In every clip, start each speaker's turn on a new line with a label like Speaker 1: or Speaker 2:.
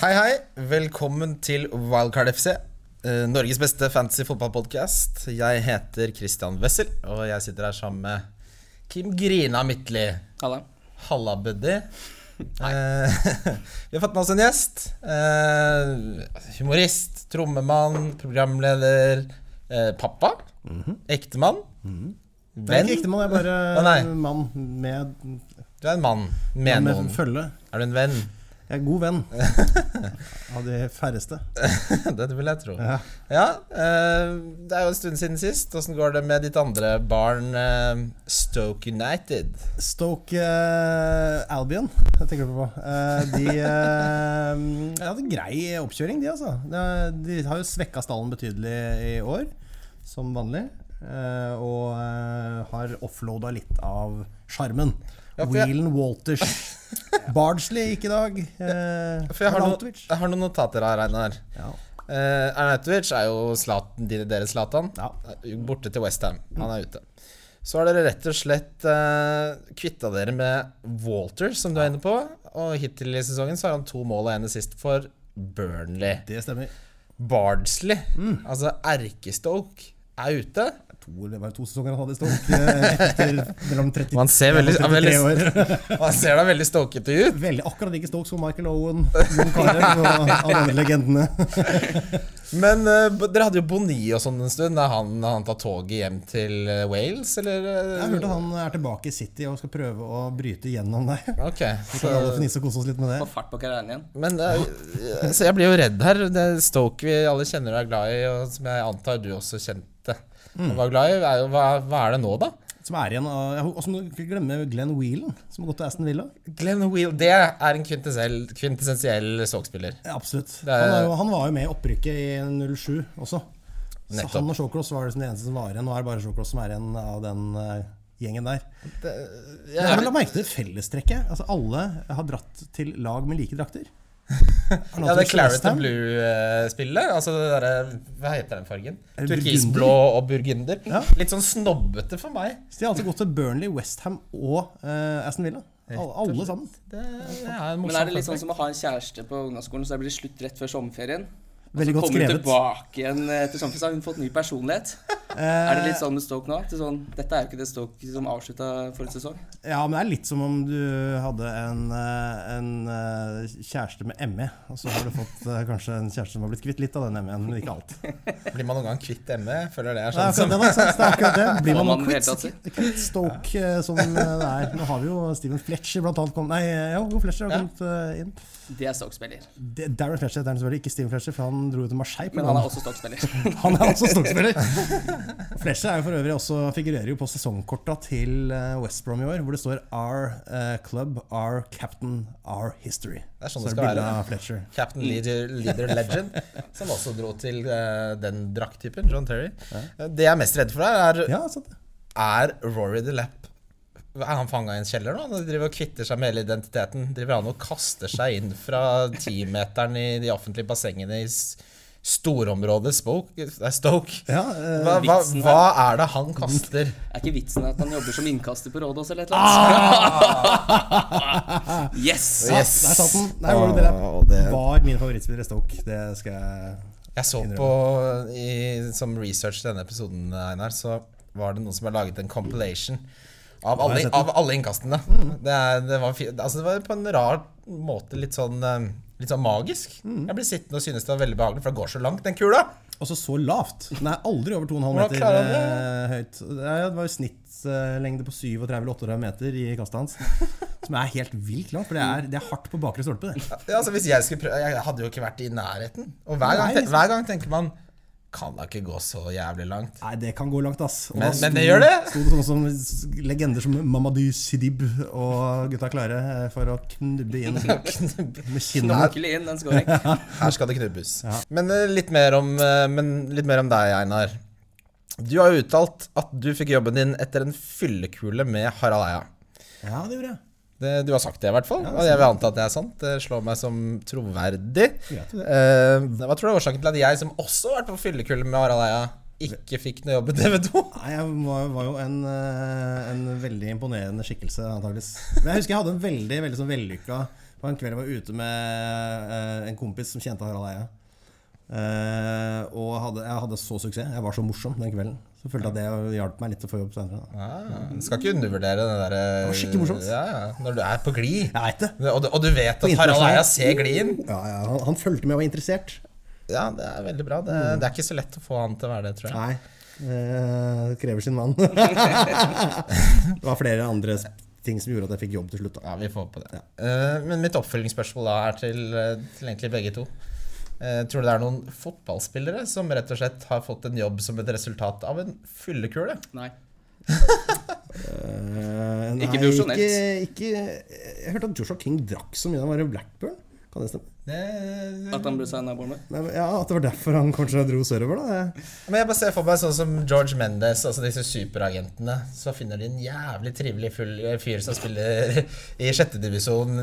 Speaker 1: Hei, hei. Velkommen til Wildcard FC. eh, Norges beste fantasy fotballpodkast. Jeg heter Christian Wessel, og jeg sitter her sammen med Kim Grina Midtli.
Speaker 2: Halla.
Speaker 1: Halla, buddy. Eh, vi har fått med oss en gjest. Eh, humorist, trommemann, programleder. eh, pappa. Ektemann.
Speaker 3: Mhm. Det er
Speaker 1: Venn.
Speaker 3: ikke ektemann, jeg er bare
Speaker 1: Å, nei.
Speaker 3: mann med,
Speaker 1: Du er en mann med
Speaker 3: med
Speaker 1: noen.
Speaker 3: følge.
Speaker 1: Er du en venn?
Speaker 3: Jeg er god venn av de færreste.
Speaker 1: det vil jeg tro.
Speaker 3: Ja.
Speaker 1: Ja, eh, det er jo en stund siden sist. Åssen går det med ditt andre barn, eh, Stoke United?
Speaker 3: Stoke eh, Albion, jeg tenker du på. Eh, de eh, har hatt en grei oppkjøring, de altså. De- De har jo svekka stallen betydelig i år, som vanlig. eh, og eh, har offloada litt av sjarmen.
Speaker 1: Ja, for jeg-
Speaker 3: Whelan Walters. Bardsley gikk i dag. eh,
Speaker 1: For jeg har, noen,
Speaker 3: Arnautovic.
Speaker 1: jeg har noen notater her, Einar.
Speaker 3: Ja.
Speaker 1: Uh, Arnautovic er jo Zlatan- de- deres Zlatan. Eh,
Speaker 3: Ja.
Speaker 1: Borte til Westham. Han er ute. Så har dere rett og slett uh, kvitta dere med Walter, som du er inne på. Og hittil i sesongen så har han to mål og en sist for Burnley.
Speaker 3: Det stemmer.
Speaker 1: Bardsley, altså erkestoke, er ute.
Speaker 3: to, det var to sesonger han hadde i Stoke. eh, Etter mellom 30
Speaker 1: Man ser veldig-
Speaker 3: mellom 33
Speaker 1: han
Speaker 3: år.
Speaker 1: Han ser da veldig stokete ut.
Speaker 3: Veldig akkurat like Stoke som Michael Owen, Jon Carew og alle andre legendene.
Speaker 1: Men eh, b- dere hadde jo Boni og sånn en stund. Er han, har han tatt toget hjem til eh, Wales, eller? eh?
Speaker 3: Jeg har hørt at han er tilbake i City og skal prøve å bryte gjennom der.
Speaker 1: Ok.
Speaker 3: Vi
Speaker 1: Så,
Speaker 3: kan alle fnise og kose oss litt med det.
Speaker 2: Få fart på karrieren igjen.
Speaker 1: men eh, jeg- så jeg blir jo redd her. Det Stoke vi alle kjenner og er glad i, og som jeg antar du også kjente
Speaker 3: Mm.
Speaker 1: og var glad i, er jo hva, hva er det nå, da?
Speaker 3: Som er igjen av jeg hå- Og så må du ikke glemme Glenn Whelan, som har gått til Aston Villa.
Speaker 1: Glenn Wheel, det er en kvintessel- kvintessensiell Stoke-spiller.
Speaker 3: Ja, absolutt.
Speaker 1: Det er-
Speaker 3: Han, er jo, han var jo med i opprykket i 07 også. Så
Speaker 1: Nettopp.
Speaker 3: han og Shawcross var liksom det eneste som var igjen. Nå er det bare Shawcross som er igjen av den eh, gjengen der.
Speaker 1: eh, Jeg
Speaker 3: Ja,
Speaker 1: er
Speaker 3: men La merke til fellestrekket. Altså, alle har dratt til lag med like drakter.
Speaker 1: Ja, det er Claret and Blue-spillet. Altså det derre Hva heter den fargen?
Speaker 3: Er det
Speaker 1: Turkisblå og burgunder.
Speaker 3: Ja.
Speaker 1: Litt sånn snobbete for meg.
Speaker 3: De har altså gått til Burnley, Westham og eh, Aston Villa. Alle, alle sammen.
Speaker 1: Det, det er en
Speaker 2: Men er det litt
Speaker 1: fun
Speaker 2: sånn som å ha en kjæreste på ungdomsskolen, så det blir slutt rett før sommerferien?
Speaker 3: Veldig
Speaker 2: Så
Speaker 3: godt
Speaker 2: kommer hun
Speaker 3: skrevet.
Speaker 2: tilbake igjen eh, til sommerferien, så har hun fått ny personlighet. Er det litt sånn med Stoke nå? Til sånn, dette er jo ikke det Stoke som avslutta forrige sesong.
Speaker 3: Ja, men det er litt som om du hadde en, eh, en eh, kjæreste med ME, og så har du fått eh, kanskje en kjæreste som har blitt kvitt litt av den ME-en, men ikke alt. Det
Speaker 1: Blir man noen gang kvitt ME? Føler det er
Speaker 3: er
Speaker 1: sånn
Speaker 3: akkurat det, da, ikke sant? det, er akkurat det. Blir
Speaker 2: Får
Speaker 3: man
Speaker 2: man
Speaker 3: noe
Speaker 2: det hele tatt
Speaker 3: kvitt, kvitt Stoke eh, som eh, det er. Nå har vi jo Steven Fletcher blant annet kommet Nei, eh, jo, Fletcher har
Speaker 2: Ja.
Speaker 3: kommet eh, inn.
Speaker 2: Det er Stoke-spiller.
Speaker 3: Det- Darren Fletcher heter han selvfølgelig, ikke Steven Fletcher, for han dro jo til Marseille. på
Speaker 2: Men han
Speaker 3: lån.
Speaker 2: er også Stoke-spiller.
Speaker 3: han er også storspiller. Fletcher er jo for øvrig også, figurerer jo på sesongkorta til eh, West Brom i år, hvor det står Our eh, club, our captain, our history.
Speaker 1: Det er sånn
Speaker 3: Så
Speaker 1: det
Speaker 3: er
Speaker 1: skal
Speaker 3: bildet
Speaker 1: være.
Speaker 3: av Fletcher.
Speaker 1: Captain Leader, Leader Legend, som også dro til eh, den drakttypen, John Terry. Eh, Det jeg er mest redd for her, er,
Speaker 3: Ja, sant det.
Speaker 1: er Rory the Lap. Er han fanga i en kjeller nå? Han driver og kvitter seg med hele identiteten. Driver han og kaster seg inn fra timeteren i de offentlige bassengene i s- storområdet Spoke, nei, Stoke?
Speaker 3: Ja, eh,
Speaker 1: Hva, hva, hva er det han kaster?
Speaker 2: Er ikke vitsen at han jobber som innkaster på Rådås eller et eller
Speaker 3: Ah!
Speaker 2: annet? Yes!
Speaker 1: Yes.
Speaker 3: Der satt den. Nei, Rory Delap
Speaker 1: Ah, det-
Speaker 3: var min favorittspiller i Stoke. Det skal jeg
Speaker 1: Jeg så på i, som research denne episoden, Einar, så var det noen som har laget en compilation av
Speaker 3: har
Speaker 1: alle,
Speaker 3: jeg sett den. Mm.
Speaker 1: av alle innkastene. Det, er, det, var, fi- altså det var på en rar måte litt sånn, eh, litt sånn magisk.
Speaker 3: Mm.
Speaker 1: Jeg ble sittende og synes det var veldig behagelig, for det går så langt, den kula.
Speaker 3: Også Altså, så lavt. Den er aldri over 2,5
Speaker 1: Hvordan
Speaker 3: meter
Speaker 1: klarer han
Speaker 3: eh, høyt. Det er- det var jo snittlengde på 37 eller 38 meter i kastet hans. Som er helt vilt lavt, for det er, det er hardt på bakre stolpe. det.
Speaker 1: Ja, altså hvis Jeg skulle prøve, jeg hadde jo ikke vært i nærheten. Og hver gang,
Speaker 3: Nei,
Speaker 1: te-
Speaker 3: liksom.
Speaker 1: hver gang tenker man Kan da ikke gå så jævlig langt?
Speaker 3: Nei, det kan gå langt, ass. Og
Speaker 1: Men-
Speaker 3: da
Speaker 1: men det gjør det.
Speaker 3: Sto det sånne som s- legender som Mamadou Sidib og gutta klare eh, for å knubbe inn med kinnet.
Speaker 2: Ordentlig inn, den scoring.
Speaker 1: Her skal det knubbes. Men, eh, litt mer om, eh, men litt mer om deg, Einar. Du har jo uttalt at du fikk jobben din etter en fyllekule med Harald Eia.
Speaker 3: Ja, det gjorde jeg.
Speaker 1: Det, du har sagt det, i hvert fall. og jeg vil anta at det er sant. Det slår meg som troverdig.
Speaker 3: Greit, det.
Speaker 1: Eh, hva tror du er årsaken til at jeg, som også har vært på fyllekule med Harald Eia, ikke fikk noe jobb i TV 2.
Speaker 3: Nei, jeg var, var jo en, eh, en veldig imponerende skikkelse, antakeligvis. Men jeg husker jeg hadde en veldig veldig sånn vellykka på en kveld jeg var ute med eh, en kompis som kjente Harald Eia. Eh, og hadde, jeg hadde så suksess. Jeg var så morsom den kvelden. Så følte jeg at det hjalp meg litt til å få jobb senere. da.
Speaker 1: Ja, Ah, skal ikke undervurdere det derre
Speaker 3: Ah. var skikkelig morsomt.
Speaker 1: Ja, ja, når du er på glid.
Speaker 3: Jeg veit det.
Speaker 1: Og, du- og du vet at Harald
Speaker 3: internasjonal-
Speaker 1: Eia ser glien.
Speaker 3: Ja, ja, han, han fulgte med og var interessert.
Speaker 1: Ja, det er veldig bra. Det, det er ikke så lett å få han til å være det, tror jeg.
Speaker 3: Nei. eh, Det krever sin mann. det var flere andre s- ting som gjorde at jeg fikk jobb til slutt. da.
Speaker 1: Ja, vi får håpe det. Eh, men mitt oppfølgingsspørsmål da er til, eh, til egentlig begge to. Eh, tror du det er noen fotballspillere som rett og slett har fått en jobb som et resultat av en fyllekule?
Speaker 2: Nei.
Speaker 3: Eh, nei,
Speaker 2: Ikke profesjonelt.
Speaker 3: Ikke, ikke, jeg hørte at Joshua King drakk så mye da han var i Blackburn. Kan det stemme?
Speaker 1: Det-
Speaker 2: At han ble signa av Bournemouth.
Speaker 3: Nei, men ja, At det var derfor han kanskje dro sørover, da.
Speaker 1: Men jeg bare ser for meg sånn som George Mendes, altså disse superagentene. Så finner de en jævlig trivelig full eh, fyr som spiller i sjettedivisjon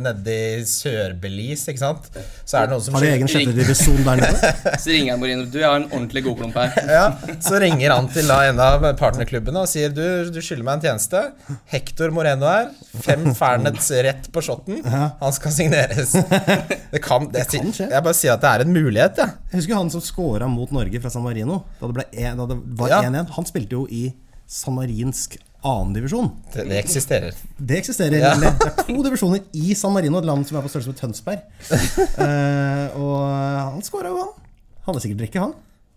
Speaker 1: nede i Sør-Belize, ikke sant. Så er det noen som
Speaker 3: Har de egen sjette divisjon der nede?
Speaker 2: Så ringer jeg Mourinho. Du, jeg har en ordentlig godklump her.
Speaker 1: ja, Så ringer han til da en av partnerklubbene og sier du, du skylder meg en tjeneste. Hector Moreno her. Fem Fernets rett på shotten. Han skal signeres. Det kan, det,
Speaker 3: kan skje.
Speaker 1: Jeg bare sier at det er en mulighet, jeg.
Speaker 3: Jeg husker han som scora mot Norge fra San Marino. Da det, ble en, da det var
Speaker 1: Ja.
Speaker 3: 1-1. Han spilte jo i San Marinsk annendivisjon.
Speaker 1: Det, det eksisterer.
Speaker 3: Det eksisterer.
Speaker 1: Ja.
Speaker 3: nemlig. Det er to divisjoner i San Marino, et land som er på størrelse med Tønsberg. Eh, og han scora jo, han. Hadde sikkert drikke, han.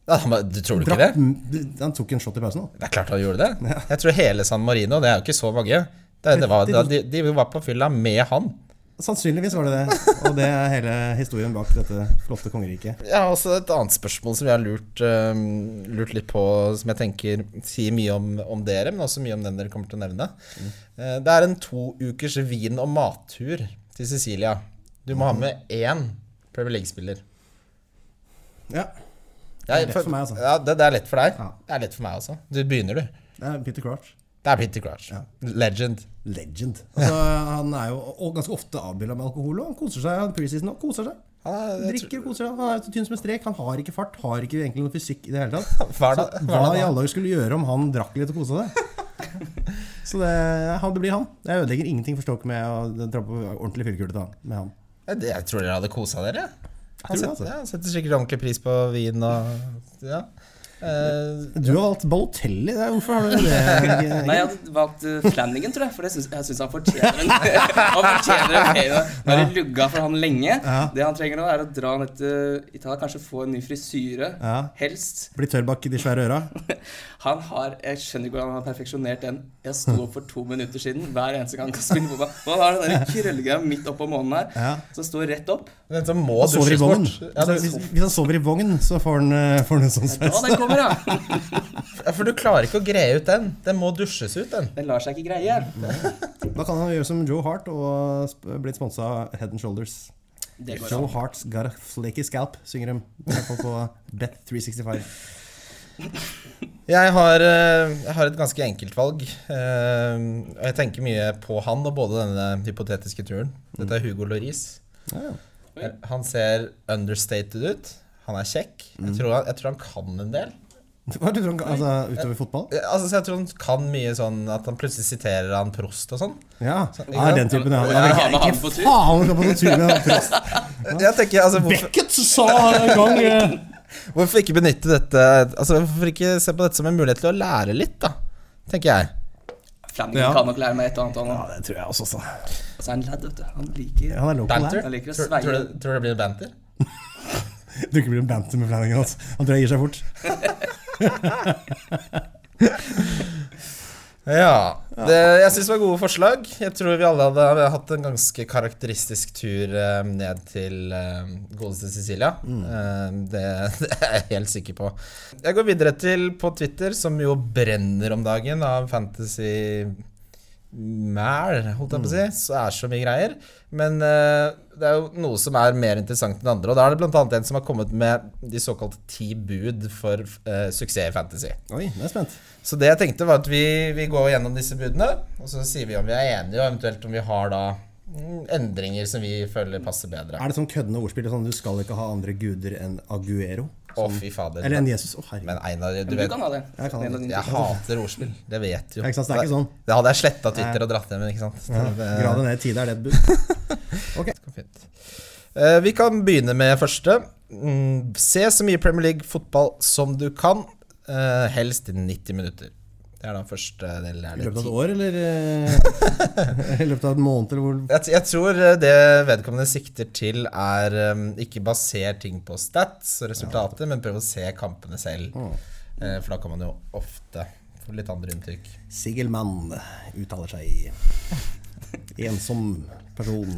Speaker 1: Ja, men Du tror du ikke det?
Speaker 3: Drakk, han tok en shot i pausen. da.
Speaker 1: Det er klart han gjorde det. Jeg tror hele San Marino, det er jo ikke så mange. Det, det var, da, de, de var på fylla med han.
Speaker 3: Sannsynligvis var det det. Og det er hele historien bak dette flotte kongeriket.
Speaker 1: Jeg har også et annet spørsmål som jeg har lurt, øhm, lurt litt på, som jeg tenker sier mye om, om dere, men også mye om den dere kommer til å nevne.
Speaker 3: Mm.
Speaker 1: Eh, Det er en to ukers vin- og mattur til Sicilia. Du må ha
Speaker 3: Mm.
Speaker 1: med én Premier League-spiller.
Speaker 3: Ja,
Speaker 1: Det
Speaker 3: lett for meg, altså.
Speaker 1: Ja, det, det er lett for deg.
Speaker 3: Ja.
Speaker 1: Det er lett for meg også. Du begynner, du.
Speaker 3: det er Peter Crouch.
Speaker 1: Det er Peter Crouch. Legend.
Speaker 3: Legend. Altså, han er jo og ganske ofte avbilda med alkohol. Og han koser seg han preseason og koser seg.
Speaker 1: Han er, jeg
Speaker 3: Drikker og koser seg. Han er så tynn som en strek. Han har ikke fart, har ikke egentlig noe fysikk i det hele
Speaker 1: tror-
Speaker 3: tatt.
Speaker 1: Hva er det, hva
Speaker 3: Hva
Speaker 1: er det
Speaker 3: i
Speaker 1: han-
Speaker 3: alle dager skulle gjøre om han drakk litt og kosa seg? Så det, han, det blir han. Jeg ødelegger ingenting for Stoke med å dra på ordentlig fyllekule til han- med han.
Speaker 1: Jeg, jeg tror dere hadde kosa dere. Han
Speaker 3: tror det,
Speaker 1: setter,
Speaker 3: altså.
Speaker 1: ja, han setter sikkert ordentlig pris på vin og ja. Eh,
Speaker 3: Du har valgt Balotelli. det er- Hvorfor har du det?
Speaker 2: Nei, jeg hadde valgt eh, Flanagan, tror jeg. For jeg syns, jeg syns han fortjener en Han fortjener en ferie. Nå har det lugga for han lenge. Det han trenger nå, er å dra ned til Italia, kanskje få en ny frisyre.
Speaker 3: Ja.
Speaker 2: Helst.
Speaker 3: Blir tørr bak de svære øra.
Speaker 2: Han har, Jeg skjønner ikke hvordan han har perfeksjonert den. Jeg sto opp for to minutter siden hver eneste gang han spiller fotball. Og han har den der krøllegreia midt oppå månen her,
Speaker 3: Ja.
Speaker 2: som står rett opp.
Speaker 1: men så må
Speaker 3: Han sover i
Speaker 1: dusjes
Speaker 3: vogn.
Speaker 1: bort. Ja,
Speaker 3: Så
Speaker 1: du,
Speaker 3: hvis, hvis han sover i vogn, så får han, eh, får han en sånn
Speaker 2: Ja,
Speaker 3: sveis.
Speaker 2: den kommer, ja!
Speaker 1: ja, for du klarer ikke å greie ut den. Den må dusjes ut, den.
Speaker 2: Den lar seg ikke greie.
Speaker 3: Da kan han gjøre som Joe Hart og sp- blitt sponsa av Head and Shoulders.
Speaker 2: Det går sånn.
Speaker 3: Joe
Speaker 2: an.
Speaker 3: Hart's got a flaky scalp, synger de. I hvert fall på Bet365.
Speaker 1: Jeg har, eh, jeg har et ganske enkelt valg. eh, Og jeg tenker mye på han og både denne hypotetiske turen. Dette er Hugo Loris.
Speaker 3: Ja.
Speaker 2: Oi.
Speaker 1: Han ser understated ut. Han er kjekk. Jeg tror han, jeg tror han kan en del.
Speaker 3: Hva er det du tror han kan- altså, utover fotball?
Speaker 1: Eh, Altså, så jeg tror han kan mye sånn at han plutselig siterer han Prost og sånn.
Speaker 3: Ja, han er den typen, ja.
Speaker 2: Ja, men han er på tur.
Speaker 3: Ikke faen, han skal på tur med en prost.
Speaker 1: Jeg tenker, altså, hvorfor,
Speaker 3: Beckett sa en gang eh,
Speaker 1: Hvorfor ikke benytte dette Altså, Hvorfor ikke se på dette som en mulighet til å lære litt, da? Tenker jeg.
Speaker 2: Flanagan
Speaker 3: Ja.
Speaker 2: kan nok lære meg et og annet. Han,
Speaker 3: Ja, det tror jeg også, altså.
Speaker 2: Og så er han lad, vet du. Han liker
Speaker 3: Han er local
Speaker 1: Banter?
Speaker 3: der.
Speaker 2: Jeg liker å
Speaker 1: Tror,
Speaker 2: sveie.
Speaker 1: tror, du, tror det blir en banter?
Speaker 3: Du ikke blir en banter med Flanagan, altså. Han tror jeg gir seg fort.
Speaker 1: Ja. Det, jeg syns det var gode forslag. Jeg tror vi alle hadde, hadde hatt en ganske karakteristisk tur eh, ned til eh, godeste Sicilia. Eh, det, det er jeg helt sikker på. Jeg går videre til på Twitter, som jo brenner om dagen av fantasy mæl, holdt jeg på å si. Så er så mye greier. Men eh, det er jo noe som er mer interessant enn andre. Og da er det blant annet en som har kommet med de såkalte ti bud for eh, suksess i fantasy.
Speaker 3: Oi, nå er jeg spent.
Speaker 1: Så det jeg tenkte var at vi, vi går gjennom disse budene, og så sier vi om vi er enige, og eventuelt om vi har da mm, endringer som vi føler passer bedre.
Speaker 3: Er det sånn køddende ordspill? Sånn, du skal ikke ha andre guder enn Aguero?
Speaker 1: Å,
Speaker 3: Sånn.
Speaker 1: fy fader.
Speaker 3: Eller en Jesus. Å, herregud.
Speaker 1: Men Einar, du
Speaker 2: Men du
Speaker 1: vet
Speaker 2: kan ha det.
Speaker 3: Jeg kan ha det.
Speaker 1: Jeg hater ordspill. Det vet du jo.
Speaker 3: Ja, ikke sant, det er ikke sånn.
Speaker 1: Det hadde jeg sletta Twitter og dratt hjem, men ikke sant. Så det-
Speaker 3: Grader ned i tide er det et bud.
Speaker 1: går fint. Eh, vi kan begynne med første. Mm, se så mye Premier League-fotball som du kan, eh, helst i 90 minutter. Det er den første delen. Er
Speaker 3: I
Speaker 1: det
Speaker 3: løpet av
Speaker 1: ti?
Speaker 3: et år, eller eh, I løpet av en måned, eller hvor
Speaker 1: Jeg, t- jeg tror eh, det vedkommende sikter til, er um, ikke baser ting på stats og resultater, men prøv å se kampene selv. Eh, for da kan man jo ofte få litt andre inntrykk.
Speaker 3: Sigelmann uttaler seg. Ensom person.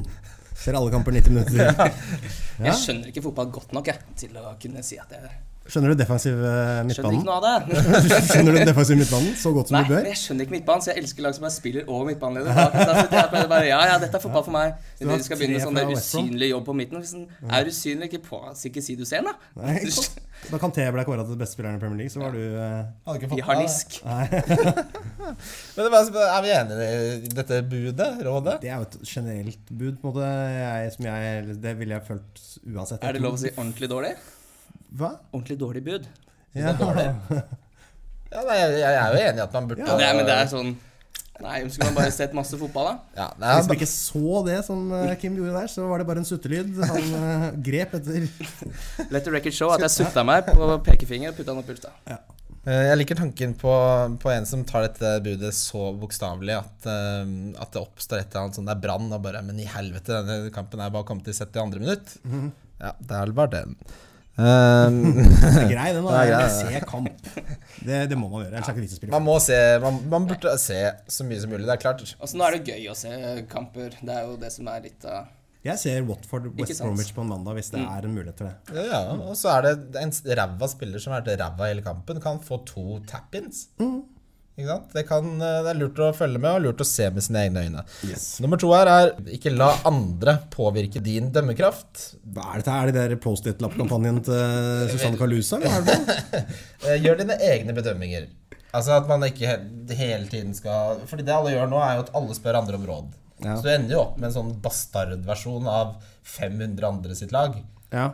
Speaker 3: Ser alle kamper 90 minutter. Ja.
Speaker 2: Jeg skjønner ikke fotball godt nok jeg, til å kunne si at jeg
Speaker 3: Skjønner du defensiv eh,
Speaker 2: skjønner ikke
Speaker 3: midtbanen?
Speaker 2: noe av det.
Speaker 3: Skjønner du defensiv midtbanen så godt som
Speaker 2: Nei, men
Speaker 3: du bør?
Speaker 2: jeg skjønner ikke midtbanen, så jeg elsker lag som er spiller og midtbaneleder. Da- da sitter Jeg pleier bare, ja, ja, dette er fotball for meg.
Speaker 3: du har
Speaker 2: Men du skal begynne
Speaker 3: tre
Speaker 2: sånn der
Speaker 3: fra West Brom?
Speaker 2: usynlig jobb på midten. Hvis den er usynlig, ikke på ikke si du ser den,
Speaker 3: Nei, ikke
Speaker 2: da.
Speaker 3: sant? Da Kanté ble kåra til beste spilleren i Premier League, så var du eh,
Speaker 2: I harnisk.
Speaker 1: Ah, Men det var, altså, er vi enige i dette budet? Rådet?
Speaker 3: Det er jo et generelt bud, på en måte. Jeg, som jeg, det ville jeg følt uansett.
Speaker 2: Er det lov å si ordentlig dårlig?
Speaker 3: Hva?
Speaker 2: Ordentlig dårlig bud.
Speaker 3: Ja.
Speaker 1: Ja, nei, jeg, jeg er jo enig i at man burde
Speaker 2: Ja, det er, men det er sånn Nei, skulle man bare sett masse fotball, da?
Speaker 1: Ja, det
Speaker 3: Hvis
Speaker 1: er,
Speaker 3: man ikke så det som eh, Kim gjorde der, så var det bare en suttelyd. Han eh, grep etter
Speaker 2: Let the record show at jeg sutta meg på pekefinger og putta den opp i lufta.
Speaker 1: Eh, Jeg liker tanken på, på en som tar dette budet så bokstavelig at, eh, at det oppstår et eller annet sånn det er brann og bare Men i helvete, denne kampen er bare kommet til 72. minutt. Ja, det er vel bare den. Eh,
Speaker 3: Det er grei, den.
Speaker 1: Det er grei,
Speaker 3: Da.
Speaker 1: det.
Speaker 3: Se kamp. Det, det må man gjøre. Ellers er det ikke vits i å spille.
Speaker 1: man må se man, man burde se så mye som mulig. Det er klart.
Speaker 2: Altså, nå er det gøy å se kamper. Det er jo det som er litt av
Speaker 3: Jeg ser Watford
Speaker 2: Ikke
Speaker 3: West
Speaker 2: sant?
Speaker 3: Bromwich på en mandag hvis
Speaker 1: Mm.
Speaker 3: det er en mulighet til det.
Speaker 1: Ja, ja. Og så er det en ræva spiller som har vært ræva hele kampen, kan få to tap-ins. Ikke sant? Det, kan, eh, det er lurt å følge med, og lurt å se med sine egne øyne. Nummer to her er ikke la andre påvirke din dømmekraft.
Speaker 3: Hva er dette? her? Er det der Post-It-lapp-kampanjen til Susanne Kalusa? Eller hva er det for noe?
Speaker 1: Eh, Gjør dine egne bedømminger. Altså at man ikke he hele tiden skal Fordi det alle gjør nå, er jo at alle spør andre om råd.
Speaker 3: Ja.
Speaker 1: Så du ender jo opp med en sånn bastardversjon av 500 andre sitt lag.
Speaker 3: Ja.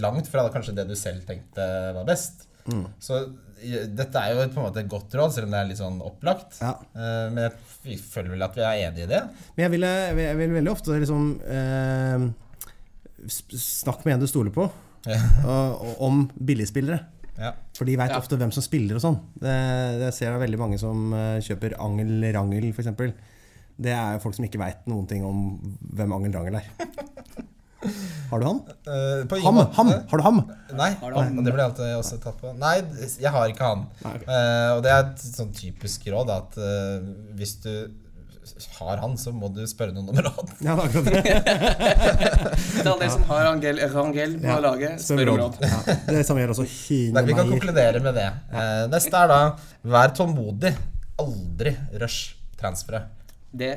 Speaker 1: Langt fra kanskje det du selv tenkte var best.
Speaker 3: Mm.
Speaker 1: Så i- dette er jo på en måte et godt råd, selv om det er litt sånn opplagt.
Speaker 3: Ja.
Speaker 1: Eh, Men jeg f- føler vel at vi er enige i det.
Speaker 3: Men jeg ville, jeg ville veldig ofte liksom eh, sp- Snakk med en du stoler på, og, og om billigspillere.
Speaker 1: Ja.
Speaker 3: For de veit
Speaker 2: Ja.
Speaker 3: ofte hvem som spiller og sånn. Det, det ser jeg veldig mange som eh, kjøper Angel Rangel, f.eks. Det er jo folk som ikke veit noen ting om hvem Angel Rangel er. Har du han?
Speaker 1: Eh, på ingen
Speaker 3: Ham!
Speaker 1: måte-
Speaker 3: ham. Har du ham?
Speaker 1: Nei,
Speaker 2: Har du
Speaker 1: og
Speaker 2: han?
Speaker 1: og det ble alltid også tatt på. Nei, jeg har ikke han.
Speaker 3: Nei, ok.
Speaker 1: Eh, og det er et sånn typisk råd da, at eh, hvis du har han, så må du spørre noen om råd.
Speaker 3: Ja, det er akkurat det.
Speaker 2: Til alle dere som har Angel, Rangel på
Speaker 3: Ja.
Speaker 2: laget,
Speaker 3: Spør om råd. Ja. Det samme gjør også
Speaker 1: Nei, vi kan
Speaker 3: Kine-Meyer.
Speaker 1: konkludere med det. Eh, neste er da vær tålmodig. Aldri rush transferet.
Speaker 2: Det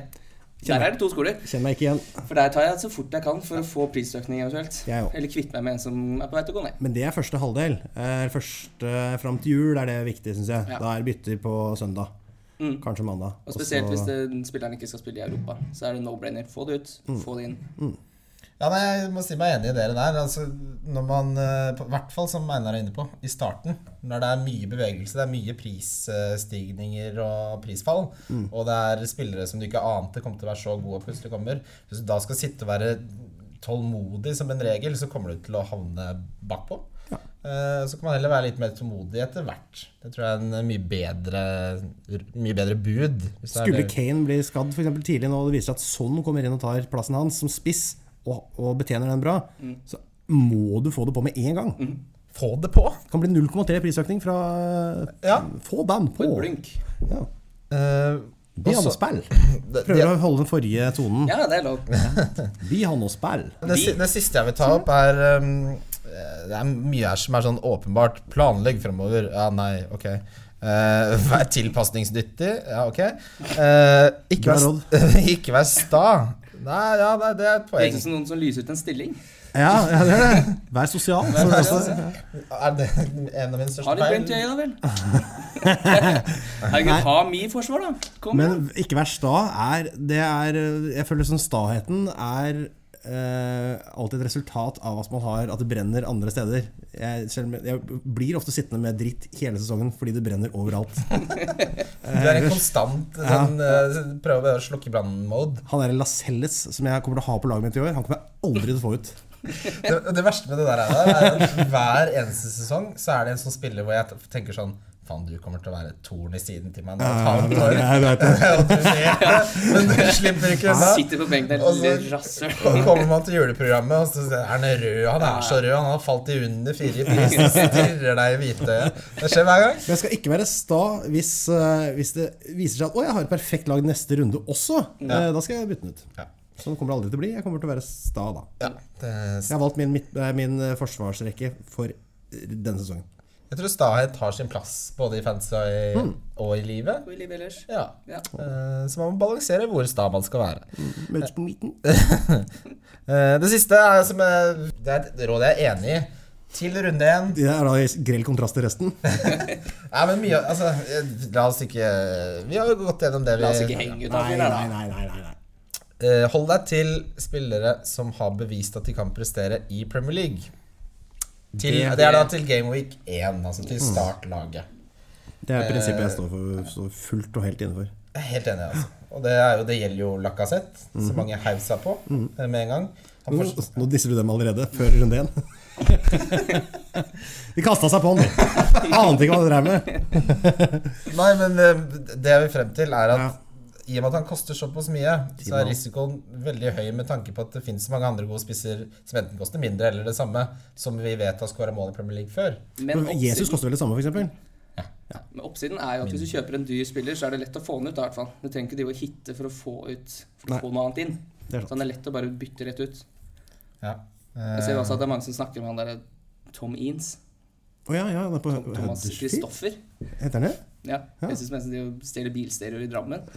Speaker 2: Der er det to skoler.
Speaker 3: Kjenner meg ikke igjen.
Speaker 2: For der tar jeg så fort jeg kan for å få prisøkning eventuelt.
Speaker 3: Jeg òg.
Speaker 2: Eller kvitte meg med en som er på vei til å gå ned.
Speaker 3: Men det er første halvdel. Eh, Første fram til jul er det viktig, syns jeg.
Speaker 2: Ja.
Speaker 3: Da er det bytter på søndag.
Speaker 2: Mm.
Speaker 3: Kanskje mandag.
Speaker 2: Og spesielt
Speaker 3: så-
Speaker 2: hvis det, spilleren ikke skal spille i Europa. Så er det no-brainer. Få det ut,
Speaker 3: Mm.
Speaker 2: få det inn.
Speaker 1: Ja, nei, Jeg må si meg enig i dere der. Altså, når man, eh, på hvert fall som Einar er inne på, i starten, når det er mye bevegelse, det er mye prisstigninger og prisfall, og det er spillere som du ikke ante kom til å være så gode, og plutselig kommer Hvis du da skal sitte og være tålmodig som en regel, så kommer du til å havne bakpå. Eh, Så kan man heller være litt mer tålmodig etter hvert. Det tror jeg er en mye bedre, mye bedre bud. hvis det er
Speaker 3: Skulle
Speaker 1: det-
Speaker 3: Kane bli skadd for eksempel, tidlig nå, og det viser seg at Son kommer inn og tar plassen hans som spiss, og, og betjener den bra,
Speaker 1: Mm.
Speaker 3: så må du få det på med en gang.
Speaker 1: Få det på!
Speaker 3: Det kan bli 0,3 prisøkning fra
Speaker 1: Ja. Eh,
Speaker 3: Få den på!
Speaker 2: På et blunk.
Speaker 3: Ja. Be han og
Speaker 1: Også,
Speaker 3: spill!
Speaker 1: det,
Speaker 3: Prøver å holde den forrige tonen.
Speaker 2: Ja, det er lov.
Speaker 3: Be han og spill!
Speaker 1: Det, si- det siste jeg vil ta opp, er um, eh, Det er mye her som er sånn åpenbart. Planlegg fremover. Ja, nei, ok. Eh, vær tilpasningsdyktig. Ja, ok. Eh, ikke,
Speaker 3: Bra
Speaker 1: vær, s- ikke vær sta. Nei, ja, nei, det er et
Speaker 2: Det
Speaker 1: poeng.
Speaker 2: høres ut som noen som lyser ut en stilling.
Speaker 3: Ja, ja, det er det. Vær sosial. Så det også.
Speaker 1: Er det en av mine største
Speaker 2: Ha litt
Speaker 1: feil?
Speaker 2: glimt i øyet, da vel. Herregud, ha mi forsvar, da. Kom.
Speaker 3: Men ikke vær sta er, det er Jeg føler sånn staheten er eh, alltid et resultat av at man har At det brenner andre steder. Jeg, selv, om- jeg blir ofte sittende med dritt hele sesongen fordi det brenner overalt.
Speaker 1: Du er en konstant sånn, eh, prøve å slukke brannen-mode.
Speaker 3: Han er en Lascelles som jeg kommer til å ha på laget mitt i år. Han kommer jeg aldri til å få ut.
Speaker 1: Det, det verste med det der er, er at hver eneste sesong så er det en sånn spiller hvor jeg tenker sånn Faen, du kommer til å være et torn i siden til meg nå. Ta ham for det. Og du vet det, Men du slipper ikke unna.
Speaker 2: Sitter på benken der,
Speaker 1: Og så-
Speaker 2: lille rasshøl.
Speaker 1: Så kommer man til juleprogrammet, og så er han rød. Han er så rød. Han har falt i under fire i pris. Stirrer deg i hvitøyet. Det skjer hver gang.
Speaker 3: Men jeg skal ikke være sta hvis, eh, hvis det viser seg at å, jeg har et perfekt lag neste runde også. Eh, da skal jeg bytte den ut.
Speaker 1: Ja.
Speaker 3: Sånn kommer det aldri til å bli. Jeg kommer til å være sta da.
Speaker 1: Ja, det,
Speaker 3: Jeg har valgt min, midt- eh, min eh, forsvarsrekke for eh, denne sesongen.
Speaker 1: jeg tror stahet har sin plass både i fantasy og i,
Speaker 2: Mm.
Speaker 1: og i livet.
Speaker 2: Willy Bellers.
Speaker 1: Ja.
Speaker 2: Ja.
Speaker 1: Eh, Så man må balansere hvor sta man skal være.
Speaker 3: Møtes på midten.
Speaker 1: Eh, Det siste er som eh, Det er et råd jeg er enig i. Til runde én
Speaker 3: Det er da i grell kontrast til resten.
Speaker 1: Nei, men mye Altså, eh, la oss ikke Vi har jo gått gjennom det vi
Speaker 2: La oss Altså, ikke henge ut av
Speaker 3: Nei,
Speaker 2: fyren her,
Speaker 3: nei,
Speaker 2: da.
Speaker 3: nei. nei, nei, nei.
Speaker 1: Eh, Hold deg til spillere som har bevist at de kan prestere i Premier League. Til,
Speaker 3: Det-
Speaker 1: det er da til Game Week 1, altså til startlaget.
Speaker 3: Det er prinsippet jeg står, for, står fullt og helt innenfor.
Speaker 1: Jeg er helt enig, altså. Og det, er jo, det gjelder jo Lacassette, som mange heiv seg på eh, med en gang. Han
Speaker 3: Nå,
Speaker 1: får,
Speaker 3: nå disser du dem allerede, før runde én. De kasta seg på han. Ante ikke hva de drev med.
Speaker 1: nei, men eh, det jeg vil frem til, er at i og med at han koster såpass mye, så er
Speaker 3: mann.
Speaker 1: risikoen veldig høy med tanke på at det finnes mange andre gode spisser som enten koster mindre eller det samme, som vi vet har skåra mål i Premier League før.
Speaker 2: Men
Speaker 3: Jesus
Speaker 2: oppsiden,
Speaker 3: koster vel det samme, f.eks.?
Speaker 2: men oppsiden er jo at hvis du kjøper en dyr spiller, så er det lett å få den ut. da, i hvert fall. Du trenger ikke drive og hitte for å få ut for
Speaker 3: Nei.
Speaker 2: å få noe annet inn.
Speaker 3: Det er
Speaker 2: Så
Speaker 3: sant.
Speaker 2: han er lett å bare bytte rett ut.
Speaker 1: Ja.
Speaker 2: Jeg ser
Speaker 1: Eh,
Speaker 2: jo også at det er mange som snakker om han derre Tom Eanes.
Speaker 3: Å ja, ja, han er på
Speaker 2: Thomas
Speaker 3: Huddersfield.
Speaker 2: Christoffer.
Speaker 3: Heter han det?
Speaker 2: Ja. Jeg syns nesten de stjeler bilstereoer i Drammen.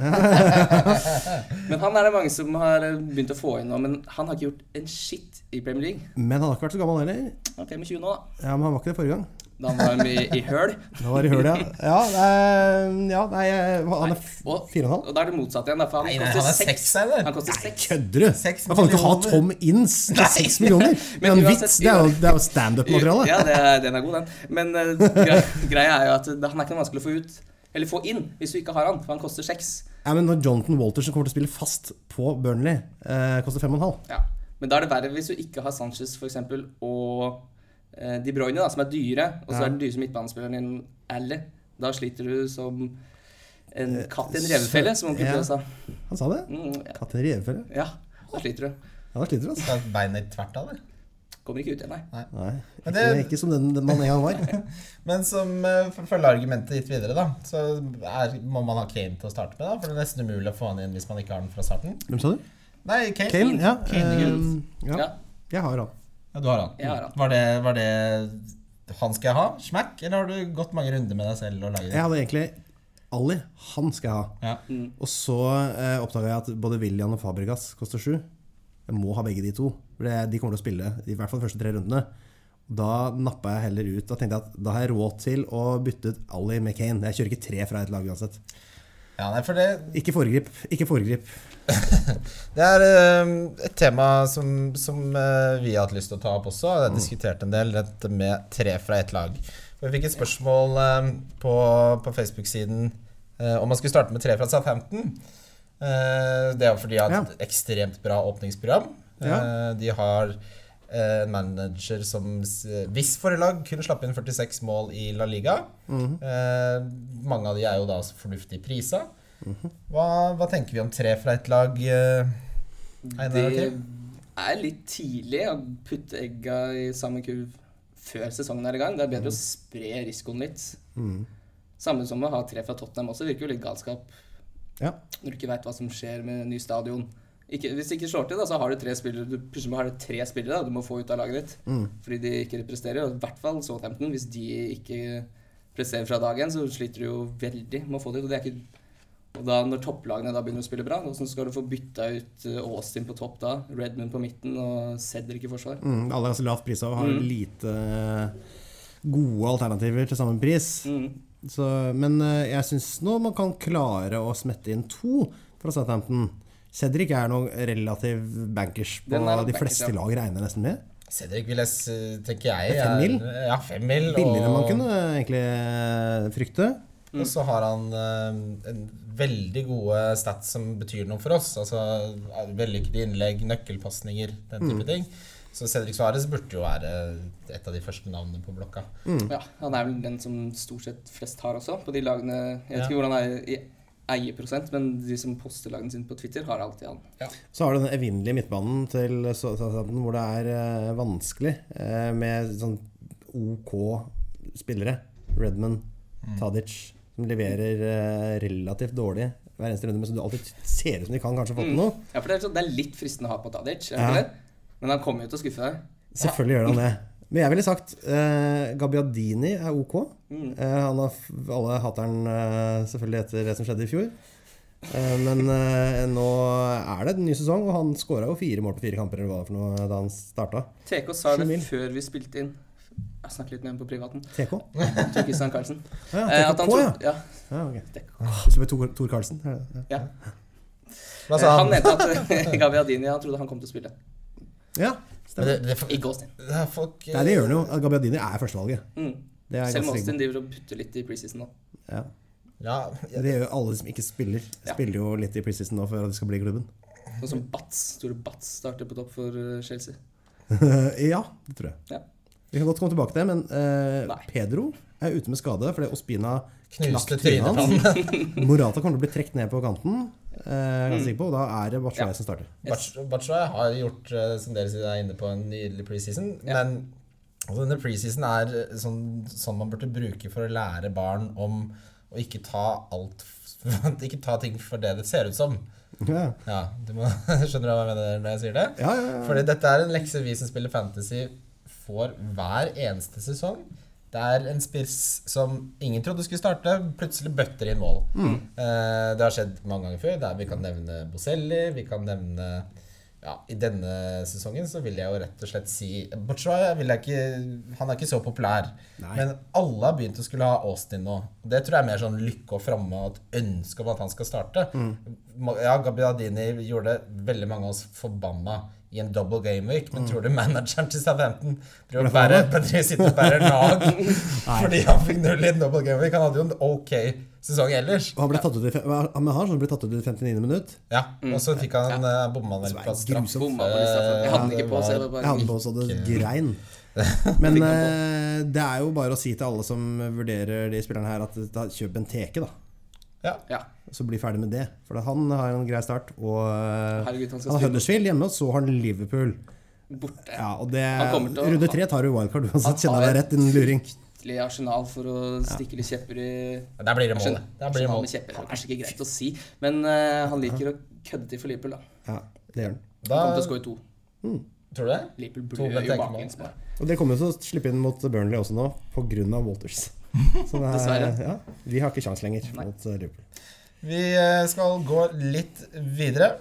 Speaker 2: men han er det mange som har eh, begynt å få inn nå, men han har ikke gjort en shit i Premier League.
Speaker 3: Men han har ikke vært så gammel heller.
Speaker 2: Han er 25 nå,
Speaker 3: Ja, men han var ikke det forrige gang.
Speaker 2: da. Da han var med i, i høl.
Speaker 3: Da var det i hølet, ja. Ja, nei, ja, nei han er f-
Speaker 2: Og,
Speaker 3: fire og en halv.
Speaker 2: og da er det motsatt igjen, da, for han
Speaker 1: Nei, nei,
Speaker 2: koster
Speaker 1: han er
Speaker 2: seks.
Speaker 1: seks, eller?
Speaker 2: Han koster seks.
Speaker 3: Kødder du?
Speaker 1: Seks
Speaker 3: Man kan ikke ha
Speaker 1: millioner.
Speaker 3: Tom Inns til seks millioner! Det
Speaker 2: Men
Speaker 3: er en
Speaker 2: uansett-
Speaker 3: vits. Det er jo, det er jo standup-materiale.
Speaker 2: Ja, det er, den er god, den. Men eh, gre- greia er jo at det- han er ikke noe vanskelig å få ut. Eller få inn, hvis du ikke har han, for han koster seks.
Speaker 3: Ja, men når Jonathan Walters som kommer til å spille fast på Burnley, eh, koster fem og en halv
Speaker 2: Ja. Men da er det verre hvis du ikke har Sanchez for eksempel, og eh, De Bruyne, da, som er dyre, og så
Speaker 3: Ja.
Speaker 2: er den dyreste midtbanespilleren din Ally. Da sliter du som en katt i en revefelle, som onkel
Speaker 3: Eh, ja.
Speaker 2: Klaus sa.
Speaker 3: Han sa det.
Speaker 2: Mm, ja.
Speaker 3: Katten revefelle.
Speaker 2: ja, da sliter du.
Speaker 3: Ja, da sliter du, altså.
Speaker 1: Skal beinet tvert av, eller?
Speaker 2: Kommer ikke ut igjen, nei.
Speaker 3: Nei.
Speaker 1: Men
Speaker 3: Ikke,
Speaker 1: det-
Speaker 3: ikke som den, den man en gang var.
Speaker 1: Men som eh, for å følge argumentet ditt videre, da, så er, må man ha Kane til å starte med, da? For det er nesten umulig å få han inn hvis man ikke har den fra starten.
Speaker 3: Hvem sa du?
Speaker 1: Nei, Kane.
Speaker 3: Kane? Ja.
Speaker 2: Kane,
Speaker 3: eh, ja.
Speaker 2: Ja.
Speaker 3: Jeg har han.
Speaker 1: Ja, du har han.
Speaker 2: Jeg har han.
Speaker 1: Var det, var det han skal jeg ha? Smack? Eller har du gått mange runder med deg selv og laget
Speaker 3: Jeg
Speaker 1: det?
Speaker 3: hadde egentlig Ali. Han skal jeg ha.
Speaker 1: Ja.
Speaker 3: Og så eh, oppdaga jeg at både William og Fabregas koster sju. Jeg må ha begge de to. For det- de kommer til å spille i hvert fall de første tre rundene. Da nappa jeg heller ut. Da tenkte jeg at da har jeg råd til å bytte ut Ali med Kane. Jeg kjører ikke tre fra et lag uansett.
Speaker 1: ja, nei, for det,
Speaker 3: Ikke foregrip. Ikke foregrip.
Speaker 1: det er eh, et tema som, som eh, vi har hatt lyst til å ta opp også. og Jeg har diskutert en del dette med tre fra ett lag. Og Jeg fikk et spørsmål eh, på, på Facebook-siden eh, om man skulle starte med tre fra Southampton. Eh, Det er jo fordi de har et ekstremt bra åpningsprogram. Eh,
Speaker 3: Ja.
Speaker 1: De har eh, en manager som s- Hvis forrige lag kunne slappe inn 46 mål i La Liga.
Speaker 3: Mhm.
Speaker 1: Eh, Mange av de er jo da fornuftig prisa.
Speaker 3: Mhm.
Speaker 1: Hva, hva tenker vi om tre fra ett lag? eh, Einar og
Speaker 2: Det
Speaker 1: Kim?
Speaker 2: er litt tidlig å putte egga i samme kurv før sesongen er i gang. Det er bedre å spre risikoen litt. Samme som å ha tre fra Tottenham også. Virker jo litt galskap
Speaker 3: Ja.
Speaker 2: når du ikke veit hva som skjer med ny stadion. Ikke, hvis det ikke slår til, da, så har du tre spillere du, plutselig har du tre spillere da, du må få ut av laget ditt. Fordi de ikke presterer. Og i hvert fall Southampton. Hvis de ikke presterer fra dagen, så sliter du jo veldig med å få det ut. Og det er ikke og da når topplagene da begynner å spille bra, hvordan skal du få bytta ut eh, Austin på topp da? Redmond på midten og Cedric i forsvar?
Speaker 3: Mm, alle er ganske lavt prisa og har
Speaker 2: Mm.
Speaker 3: lite eh, gode alternativer til samme pris.
Speaker 2: Mm.
Speaker 3: Så, men eh, jeg syns nå man kan klare å smette inn to fra Southampton. Cedric er noen relativ bankers på de
Speaker 2: Den er bankers,
Speaker 3: fleste
Speaker 2: ja.
Speaker 3: lag, regner jeg nesten med.
Speaker 1: Cedric vil jeg s- tenker jeg
Speaker 3: Det er fem mil.
Speaker 1: er- Ja, fem mil.
Speaker 3: Billigere enn man
Speaker 1: og-
Speaker 3: kunne eh, egentlig eh, frykte.
Speaker 1: Og så har han eh, en veldig gode stats som betyr noe for oss. Altså eh, Vellykkede innlegg, nøkkelpasninger, den
Speaker 3: Mm.
Speaker 1: type ting. Så Cedric Suárez burde jo være et av de første navnene på blokka.
Speaker 3: Mm.
Speaker 2: Ja, han er vel den som stort sett flest har også, på de lagene Jeg vet
Speaker 1: Ja.
Speaker 2: ikke hvordan han er i eierprosent, men de som poster lagene sine på Twitter, har alltid han.
Speaker 3: Så har du den evinnelige midtbanen til Southampton hvor det er eh, vanskelig eh, med sånn OK spillere. Redman, Tadic, som leverer eh, relativt dårlig hver eneste runde, men som du alltid ser ut som de kan kanskje få til noe.
Speaker 2: Ja, for det er, sånn, det er litt fristende å ha på Tadic, er det
Speaker 3: Ja.
Speaker 2: ikke det? men han kommer jo til å skuffe deg.
Speaker 3: Selvfølgelig gjør han det. Men jeg ville sagt eh, Gabbiadini er ok. Eh, han har, f- alle hater han eh, selvfølgelig etter det som skjedde i fjor. Eh, men eh, nå er det en ny sesong, og han skåra jo fire mål på fire kamper eller hva det var for noe da han starta.
Speaker 2: TK sa
Speaker 3: Sju
Speaker 2: det
Speaker 3: mil.
Speaker 2: før vi spilte inn. Jeg snakket litt med ham på privaten.
Speaker 3: TK?
Speaker 2: Tor Christian Karlsen.
Speaker 3: Ja,
Speaker 2: Eh,
Speaker 3: ja,
Speaker 2: at han
Speaker 3: TK, ja.
Speaker 2: trodde- ja.
Speaker 3: ja ok.
Speaker 2: TK.
Speaker 3: Så ble Tor, Tor Karlsen. Ja, ja.
Speaker 2: ja.
Speaker 1: Hva
Speaker 2: Eh,
Speaker 1: sa
Speaker 2: Han
Speaker 1: altså, han?
Speaker 2: mente at Gaviadini han trodde han kom til å spille.
Speaker 3: ja
Speaker 1: Men
Speaker 3: stemmer.
Speaker 1: det, det,
Speaker 2: I Gåstein.
Speaker 1: det er folk
Speaker 3: Nei, det gjør han jo. Gabbiadini er førstevalget.
Speaker 2: Mm.
Speaker 3: Det er jeg
Speaker 2: Selv
Speaker 3: ganske sikker
Speaker 2: Austin driver og putter litt i preseason nå.
Speaker 3: på. Ja.
Speaker 1: Ja,
Speaker 3: Det gjør jo alle som ikke spiller.
Speaker 2: Ja.
Speaker 3: Spiller jo litt i preseason nå for at de skal bli i klubben.
Speaker 2: Sånn som Batz. Store Batz starter på topp for eh, Chelsea.
Speaker 3: Eh, ja, det tror jeg.
Speaker 2: Ja.
Speaker 3: Vi kan godt komme tilbake til det, men eh,
Speaker 2: Nei.
Speaker 3: Pedro er ute med skade fordi Ospina knakk
Speaker 1: knuste
Speaker 3: trynet
Speaker 1: trynet på han.
Speaker 3: hans. Morata kommer til å bli trukket ned på kanten, eh, jeg er ganske sikker på, og da er det Bachelet
Speaker 2: Mm. Ja.
Speaker 3: som starter.
Speaker 1: Bach- Batshuayi har gjort, eh, som dere sier, er inne på en nydelig preseason. Men altså, denne preseason er eh, sånn, sånn man burde bruke for å lære barn om å ikke ta alt f- Ikke ta ting for det det ser ut som.
Speaker 3: Ja,
Speaker 1: Ja, du må, Skjønner du hva jeg mener når jeg sier det?
Speaker 3: ja, ja, ja.
Speaker 1: Fordi dette er en lekse vi som spiller fantasy får hver eneste sesong. Det er en spiss som ingen trodde skulle starte, plutselig bøtter inn mål. Eh, det har skjedd mange ganger før. Der vi kan nevne Boselli, vi kan nevne ja, I denne sesongen så vil jeg jo rett og slett si Botsjaj vil jeg ikke Han er ikke så populær.
Speaker 3: Nei.
Speaker 1: Men alle har begynt å skulle ha Austin nå. Det tror jeg er mer sånn lykke og framme og et ønske om at han skal starte. Ma- Ja, Gabbiadini gjorde veldig mange av oss forbanna i en double game week, men tror du manageren til Southampton driver og bærer, driver og sitter og bærer lag fordi han fikk null i en double game week? Han hadde jo en ok sesong ellers.
Speaker 3: Og han ble tatt ut i, fe- ja, men han som ble tatt ut i 59. minutt.
Speaker 1: Ja,
Speaker 2: Mm.
Speaker 1: og så fikk han ja. bomma vel
Speaker 3: Det
Speaker 1: på
Speaker 3: var
Speaker 1: straff.
Speaker 3: grusomt. Eh,
Speaker 2: Bomma på lista. for- Jeg hadde den ikke på, så jeg var
Speaker 3: Jeg hadde på
Speaker 2: bare
Speaker 3: så det grein. Men eh, det er jo bare å si til alle som vurderer de spillerne her, at da, kjøp en teke, da.
Speaker 1: Ja.
Speaker 2: Ja.
Speaker 3: Så bli ferdig med det. For han har en grei start, og eh,
Speaker 2: Herregud, han skal
Speaker 3: han har
Speaker 2: spille.
Speaker 3: Huddersfield hjemme, og så har han Liverpool.
Speaker 2: Borte.
Speaker 3: Ja, og det,
Speaker 2: Han kommer til å-
Speaker 3: runde tre tar du wildcard uansett,
Speaker 2: Han
Speaker 3: kjenner jeg
Speaker 2: har
Speaker 3: deg rett, din luring.
Speaker 2: Til Arsenal for å stikke litt kjepper i
Speaker 1: Der blir det mål.
Speaker 2: Skjønner.
Speaker 1: Der blir det mål.
Speaker 2: Arsenal med kjepper. Det er kanskje ikke greit å si, men eh, han liker å kødde til for Liverpool, da.
Speaker 3: Ja, det gjør han.
Speaker 1: Da,
Speaker 2: Han kommer til å skåre to.
Speaker 1: tror du det?
Speaker 2: Liverpool
Speaker 1: To
Speaker 2: burde
Speaker 1: med
Speaker 2: jo
Speaker 1: tenkemål.
Speaker 2: bake inn små.
Speaker 3: Og det kommer jo til å slippe inn mot Burnley også nå, pga. Walters. Så det er,
Speaker 2: Dessverre.
Speaker 3: Ja, vi har ikke sjans lenger mot eh, Liverpool.
Speaker 1: Vi eh, skal gå litt videre.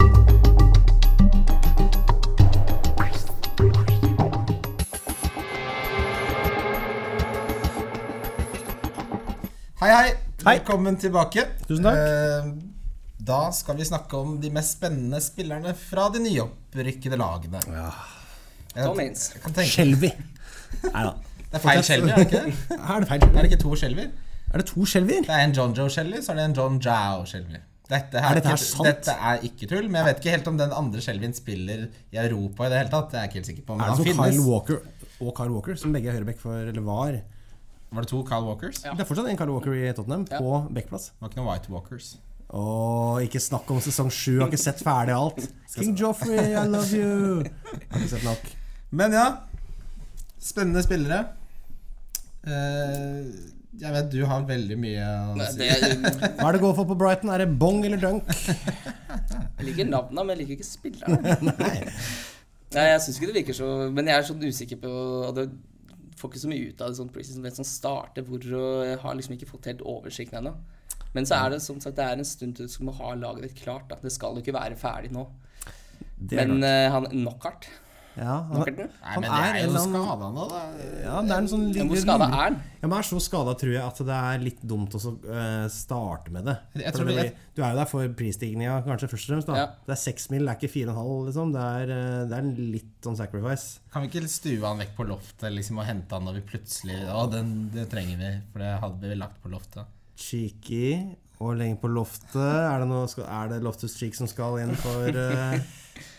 Speaker 1: Hei, hei.
Speaker 3: Hei.
Speaker 1: Velkommen tilbake.
Speaker 3: Tusen takk.
Speaker 1: Eh, Da skal vi snakke om de mest spennende spillerne fra de nyopprykkede lagene.
Speaker 2: Tom Haines.
Speaker 1: Jeg kan tenke,
Speaker 3: Shelby. Nei da.
Speaker 1: det er feil Shelby, er det ikke? det?
Speaker 3: Er det feil?
Speaker 1: Er det ikke to Shelby?
Speaker 3: Er det to Shelbyer?
Speaker 1: Det er en John Joe Shelby, så er det en John Jao Shelby. Dette er,
Speaker 3: Er dette her
Speaker 1: ikke,
Speaker 3: sant?
Speaker 1: dette er ikke tull, men jeg vet ikke helt om den andre Shelbyen spiller i Europa i det hele tatt. Det er jeg ikke helt sikker på. Men
Speaker 3: Er det
Speaker 1: han
Speaker 3: som
Speaker 1: finnes.
Speaker 3: Kyle Walker og Kyle Walker, som begge er høyreback for, eller var?
Speaker 1: Var det to Kyle Walkers?
Speaker 2: Ja.
Speaker 3: Det er fortsatt en Kyle Walker i Tottenham, på backplass.
Speaker 1: Det var ikke noen White Walkers.
Speaker 3: Å, ikke snakk om sesong sju, har ikke sett ferdig alt. King Joffrey, I love you! Har ikke sett nok.
Speaker 1: Men ja, spennende spillere. Eh, jeg vet du har veldig mye å si.
Speaker 2: Det jeg
Speaker 3: Hva er det går for på Brighton? Er det bong eller dunk?
Speaker 2: liker navnene, men jeg liker ikke spillerne.
Speaker 3: Nei.
Speaker 2: Nei, jeg syns ikke det virker så Men jeg er sånn usikker på og det Får ikke så mye ut av det sånn preseason. Vet sånn starte hvor og Jeg har liksom ikke fått helt oversikten ennå. Men så er det som sagt Det er en stund til du skal må ha laget ditt klart. Da. Det skal jo ikke være ferdig nå.
Speaker 3: Det er
Speaker 2: Men eh, han Knockhart
Speaker 3: Ja, han,
Speaker 2: Makkert, du?
Speaker 1: Nei,
Speaker 3: Han
Speaker 1: men
Speaker 3: er
Speaker 1: det er
Speaker 3: en
Speaker 1: jo
Speaker 3: eller annen-
Speaker 1: skada nå, da.
Speaker 3: ja, det er en sånn
Speaker 2: Men Hvor
Speaker 3: liten-
Speaker 2: skada er han?
Speaker 3: Ja, men er så skada, tror jeg, at det er litt dumt å så, eh, starte med det.
Speaker 1: Jeg
Speaker 3: For
Speaker 1: tror
Speaker 3: det
Speaker 1: det-
Speaker 3: blir- du er jo der for prisstigninga, kanskje, først og fremst. da
Speaker 2: Ja.
Speaker 3: Det er seks mil, det er ikke fire og en halv, liksom. Det er, eh, det er en litt sånn sacrifice.
Speaker 1: Kan vi ikke stue han vekk på loftet liksom, og hente han når vi plutselig Å, den, det trenger vi, for det hadde vi lagt på loftet.
Speaker 3: Cheeky og lenge på loftet. Er det, noe, skal, er det Loftus Cheek som skal inn for eh,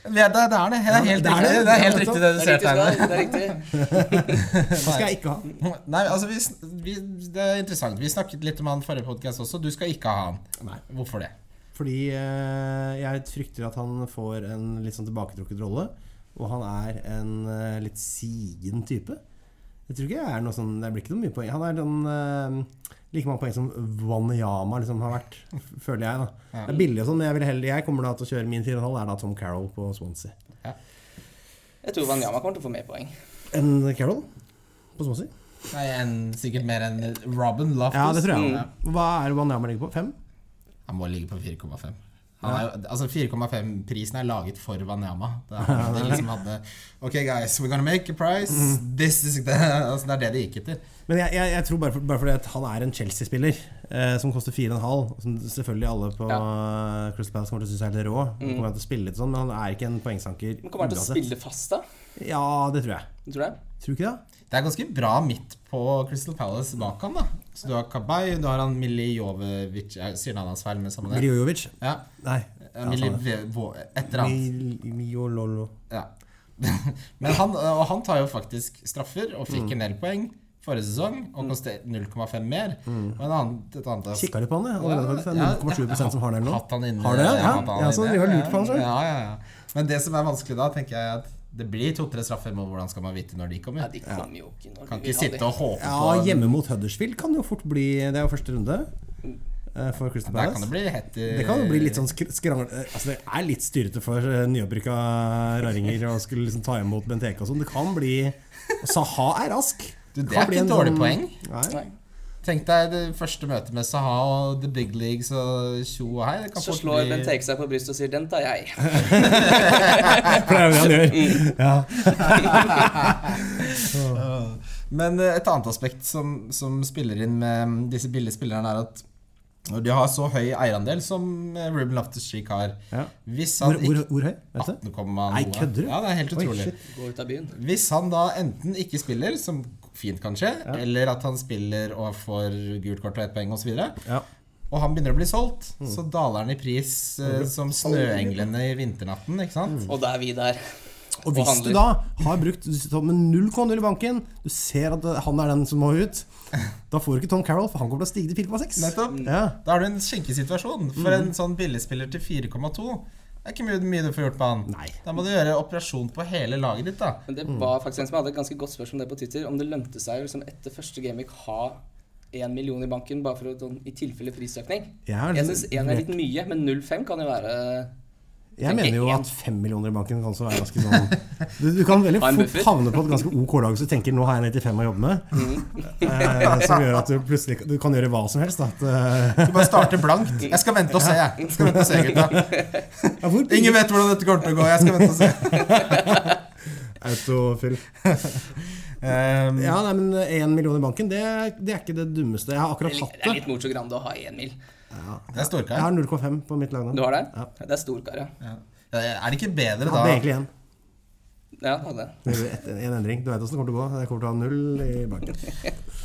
Speaker 1: Det er det, det er det. Det er helt
Speaker 3: det er
Speaker 1: riktig
Speaker 3: det.
Speaker 1: det, er helt
Speaker 3: Ja,
Speaker 1: riktig det du
Speaker 2: Det er
Speaker 1: ser
Speaker 2: riktig,
Speaker 1: tegnet.
Speaker 2: Skada. Det er riktig.
Speaker 3: Det skal jeg ikke ha.
Speaker 1: Nei, altså vi, sn- vi, Det er interessant. Vi snakket litt om han i forrige podkast også. Du skal ikke ha han.
Speaker 3: Nei.
Speaker 1: Hvorfor det?
Speaker 3: Fordi eh, jeg frykter at han får en litt sånn tilbaketrukket rolle. Og han er en eh, litt sigen type. Jeg tror ikke jeg er noe sånn, Det blir ikke noe mye poeng. Han er sånn eh, like mange poeng som Wanyama liksom har vært, f- føler jeg. da. Det er billig og sånn, men jeg, vil heller, jeg kommer da til å kjøre min 4,5. Er da Tom Carroll på Swansea.
Speaker 2: Jeg tror Wanyama kommer til å få mer poeng.
Speaker 3: En Carroll på Swansea?
Speaker 1: Nei, en, Sikkert mer enn Robin Loftus.
Speaker 3: Ja, det tror jeg.
Speaker 2: Mm.
Speaker 3: Hva er Wanyama ligger på? Fem?
Speaker 1: Han må ligge på 4,5. Han er jo- Altså 4,5-prisen er laget for Wanyama. Det er, det liksom hadde, ok, guys, we're gonna make a price.
Speaker 3: Mhm.
Speaker 1: This is the, altså, det er det de gikk etter.
Speaker 3: Men jeg, jeg, jeg tror bare, for, bare fordi at han er en Chelsea-spiller eh, som koster 4,5 Som selvfølgelig alle på eh, Crystal Palace kommer til å synes er helt rå. Han Kommer til å spille litt sånn, Men han er ikke en poengsanker.
Speaker 2: Mm. Men kommer han til å
Speaker 3: uansett.
Speaker 2: spille fast, da?
Speaker 3: Ja, det tror jeg.
Speaker 2: Tror du det?
Speaker 3: Tror du ikke det?
Speaker 1: Det er ganske bra midt på Crystal Palace bak han, da. Så du har Kabay, du har han Milijovic Jeg Sier navnet hans feil, men samme det.
Speaker 3: Briojovic?
Speaker 1: Ja.
Speaker 3: Nei.
Speaker 1: eh, Milivo, et eller annet.
Speaker 3: Miljololo.
Speaker 1: Ja. Men han, og han tar jo faktisk straffer, og
Speaker 3: Mm.
Speaker 1: fikk en del poeng forrige sesong, og kostet 0,5 mer.
Speaker 3: Mm.
Speaker 1: Og en annen, et annet
Speaker 3: Kikka litt på han, jeg. Allerede faktisk.
Speaker 1: Ja,
Speaker 3: Det er 0,7 som har den eller
Speaker 1: Hatt han
Speaker 3: noe.
Speaker 1: inne.
Speaker 3: Har det?
Speaker 1: jeg
Speaker 3: Ja,
Speaker 1: hatt han
Speaker 3: ja så
Speaker 1: inne.
Speaker 3: vi har lurt på han sjøl.
Speaker 1: Ja, ja, ja. Men det som er vanskelig da, tenker jeg at det blir to-tre straffer, men hvordan skal man vite når de
Speaker 2: Ja,
Speaker 1: kommer?
Speaker 2: de kommer jo ikke når
Speaker 1: Kan
Speaker 2: vi
Speaker 1: ikke sitte
Speaker 2: vil ha
Speaker 1: og håpe
Speaker 3: Ja,
Speaker 1: på
Speaker 3: hjemme mot Huddersfield kan det jo fort bli Det er jo første runde eh, for Crystal
Speaker 1: Der kan
Speaker 3: Palace.
Speaker 1: det bli hett i
Speaker 3: Det kan jo bli litt sånn skr- skrangel... eh, Altså, det er litt styrete for eh, nyopprykka raringer å skulle liksom ta imot Benteke og sånn. Det kan bli og Saha er rask.
Speaker 1: Du, det
Speaker 3: kan
Speaker 1: er
Speaker 3: bli
Speaker 1: ikke
Speaker 3: en
Speaker 1: et dårlig
Speaker 3: sånn-
Speaker 1: poeng.
Speaker 3: Nei.
Speaker 2: Nei.
Speaker 1: Tenk deg det første møtet med Saha og The Big Leagues og tjo og hei. Det kan
Speaker 2: Så
Speaker 1: fort
Speaker 2: slår
Speaker 1: bli-
Speaker 2: Bent Teke seg på brystet og sier 'den tar jeg'.
Speaker 3: For det er jo det han gjør. Ja.
Speaker 1: Men eh, et annet aspekt som, som spiller inn med mm, disse billige spillerne, er at når de har så høy eierandel som eh, Ruben Loftus-Cheek har
Speaker 3: Ja.
Speaker 1: Hvis
Speaker 3: Hvor,
Speaker 1: han
Speaker 3: hvor,
Speaker 1: ikke
Speaker 3: hvor høy? Vet du?
Speaker 1: 18, komma
Speaker 3: Nei,
Speaker 1: noe.
Speaker 3: kødder du?
Speaker 1: Ja, det er helt
Speaker 3: Oi,
Speaker 1: utrolig.
Speaker 3: shit.
Speaker 2: Går ut av byen.
Speaker 1: Hvis han da enten ikke spiller, som fint kan skje, eller at han spiller og får gult kort og ett poeng osv.,
Speaker 3: Ja. Mm.
Speaker 1: og han begynner å bli solgt, så daler han i pris eh, som snøenglene i vinternatten, ikke
Speaker 3: Mm.
Speaker 1: sant?
Speaker 2: Og da er vi der.
Speaker 3: Og hvis du da har brukt du sitter med null kroner i banken, du ser at eh, han er den som må ut, da får du ikke Tom Carroll, for han kommer til å stige til 4,6.
Speaker 1: Nettopp.
Speaker 3: Ja.
Speaker 1: Da har du en skinkesituasjon. For en
Speaker 3: Mhm.
Speaker 1: sånn billigspiller til 4,2 det er ikke mye, mye du får gjort på han.
Speaker 3: Nei.
Speaker 1: Da må du gjøre operasjon på hele laget ditt, da.
Speaker 2: Men det
Speaker 3: Mm.
Speaker 2: var faktisk en som hadde et ganske godt spørsmål om det på Twitter. Om det lønte seg å liksom etter første gameweek ha én million i banken bare for å, sånn, i tilfelle prisøkning.
Speaker 3: Jeg, har-
Speaker 2: Jeg syns én er litt mye, men 0,5 kan jo være
Speaker 3: Jeg mener jo
Speaker 2: Tenker én.
Speaker 3: at fem millioner i banken kan også være ganske sånn Du, du kan veldig
Speaker 2: Ha en
Speaker 3: fort
Speaker 2: buffer. Mm.
Speaker 3: havne på et ganske OK lag hvis du tenker 'nå har jeg 95 å jobbe med'. Eh, som gjør at du plutselig du kan gjøre hva som helst. da, At, eh,
Speaker 1: Du bare starter blankt. Jeg skal vente og se, jeg. jeg. Skal vente og se, gutta.
Speaker 3: ja, hvor
Speaker 1: Ingen vet hvordan dette kommer til å gå. Jeg skal vente og se.
Speaker 3: Autofyll.
Speaker 1: Ehm,
Speaker 3: Ja, nei, men én million i banken, det, det er ikke det dummeste. Jeg har
Speaker 2: Det
Speaker 3: akkurat
Speaker 2: er litt-
Speaker 3: hatt
Speaker 2: det er
Speaker 3: det.
Speaker 2: litt Mocho Grande å ha én mil.
Speaker 1: det er
Speaker 3: Jeg
Speaker 1: storkar.
Speaker 3: har 0,5 på mitt lag
Speaker 2: Du
Speaker 3: nå.
Speaker 2: har det?
Speaker 3: Ja.
Speaker 2: Det er storkar, ja.
Speaker 1: Ja. Er det ikke bedre
Speaker 3: Jeg
Speaker 1: da
Speaker 3: hadde egentlig én.
Speaker 2: Ja, det hadde jeg.
Speaker 3: Det er jo et- En endring. Du vet åssen det kommer til å gå. Jeg kommer til å ha null i banken.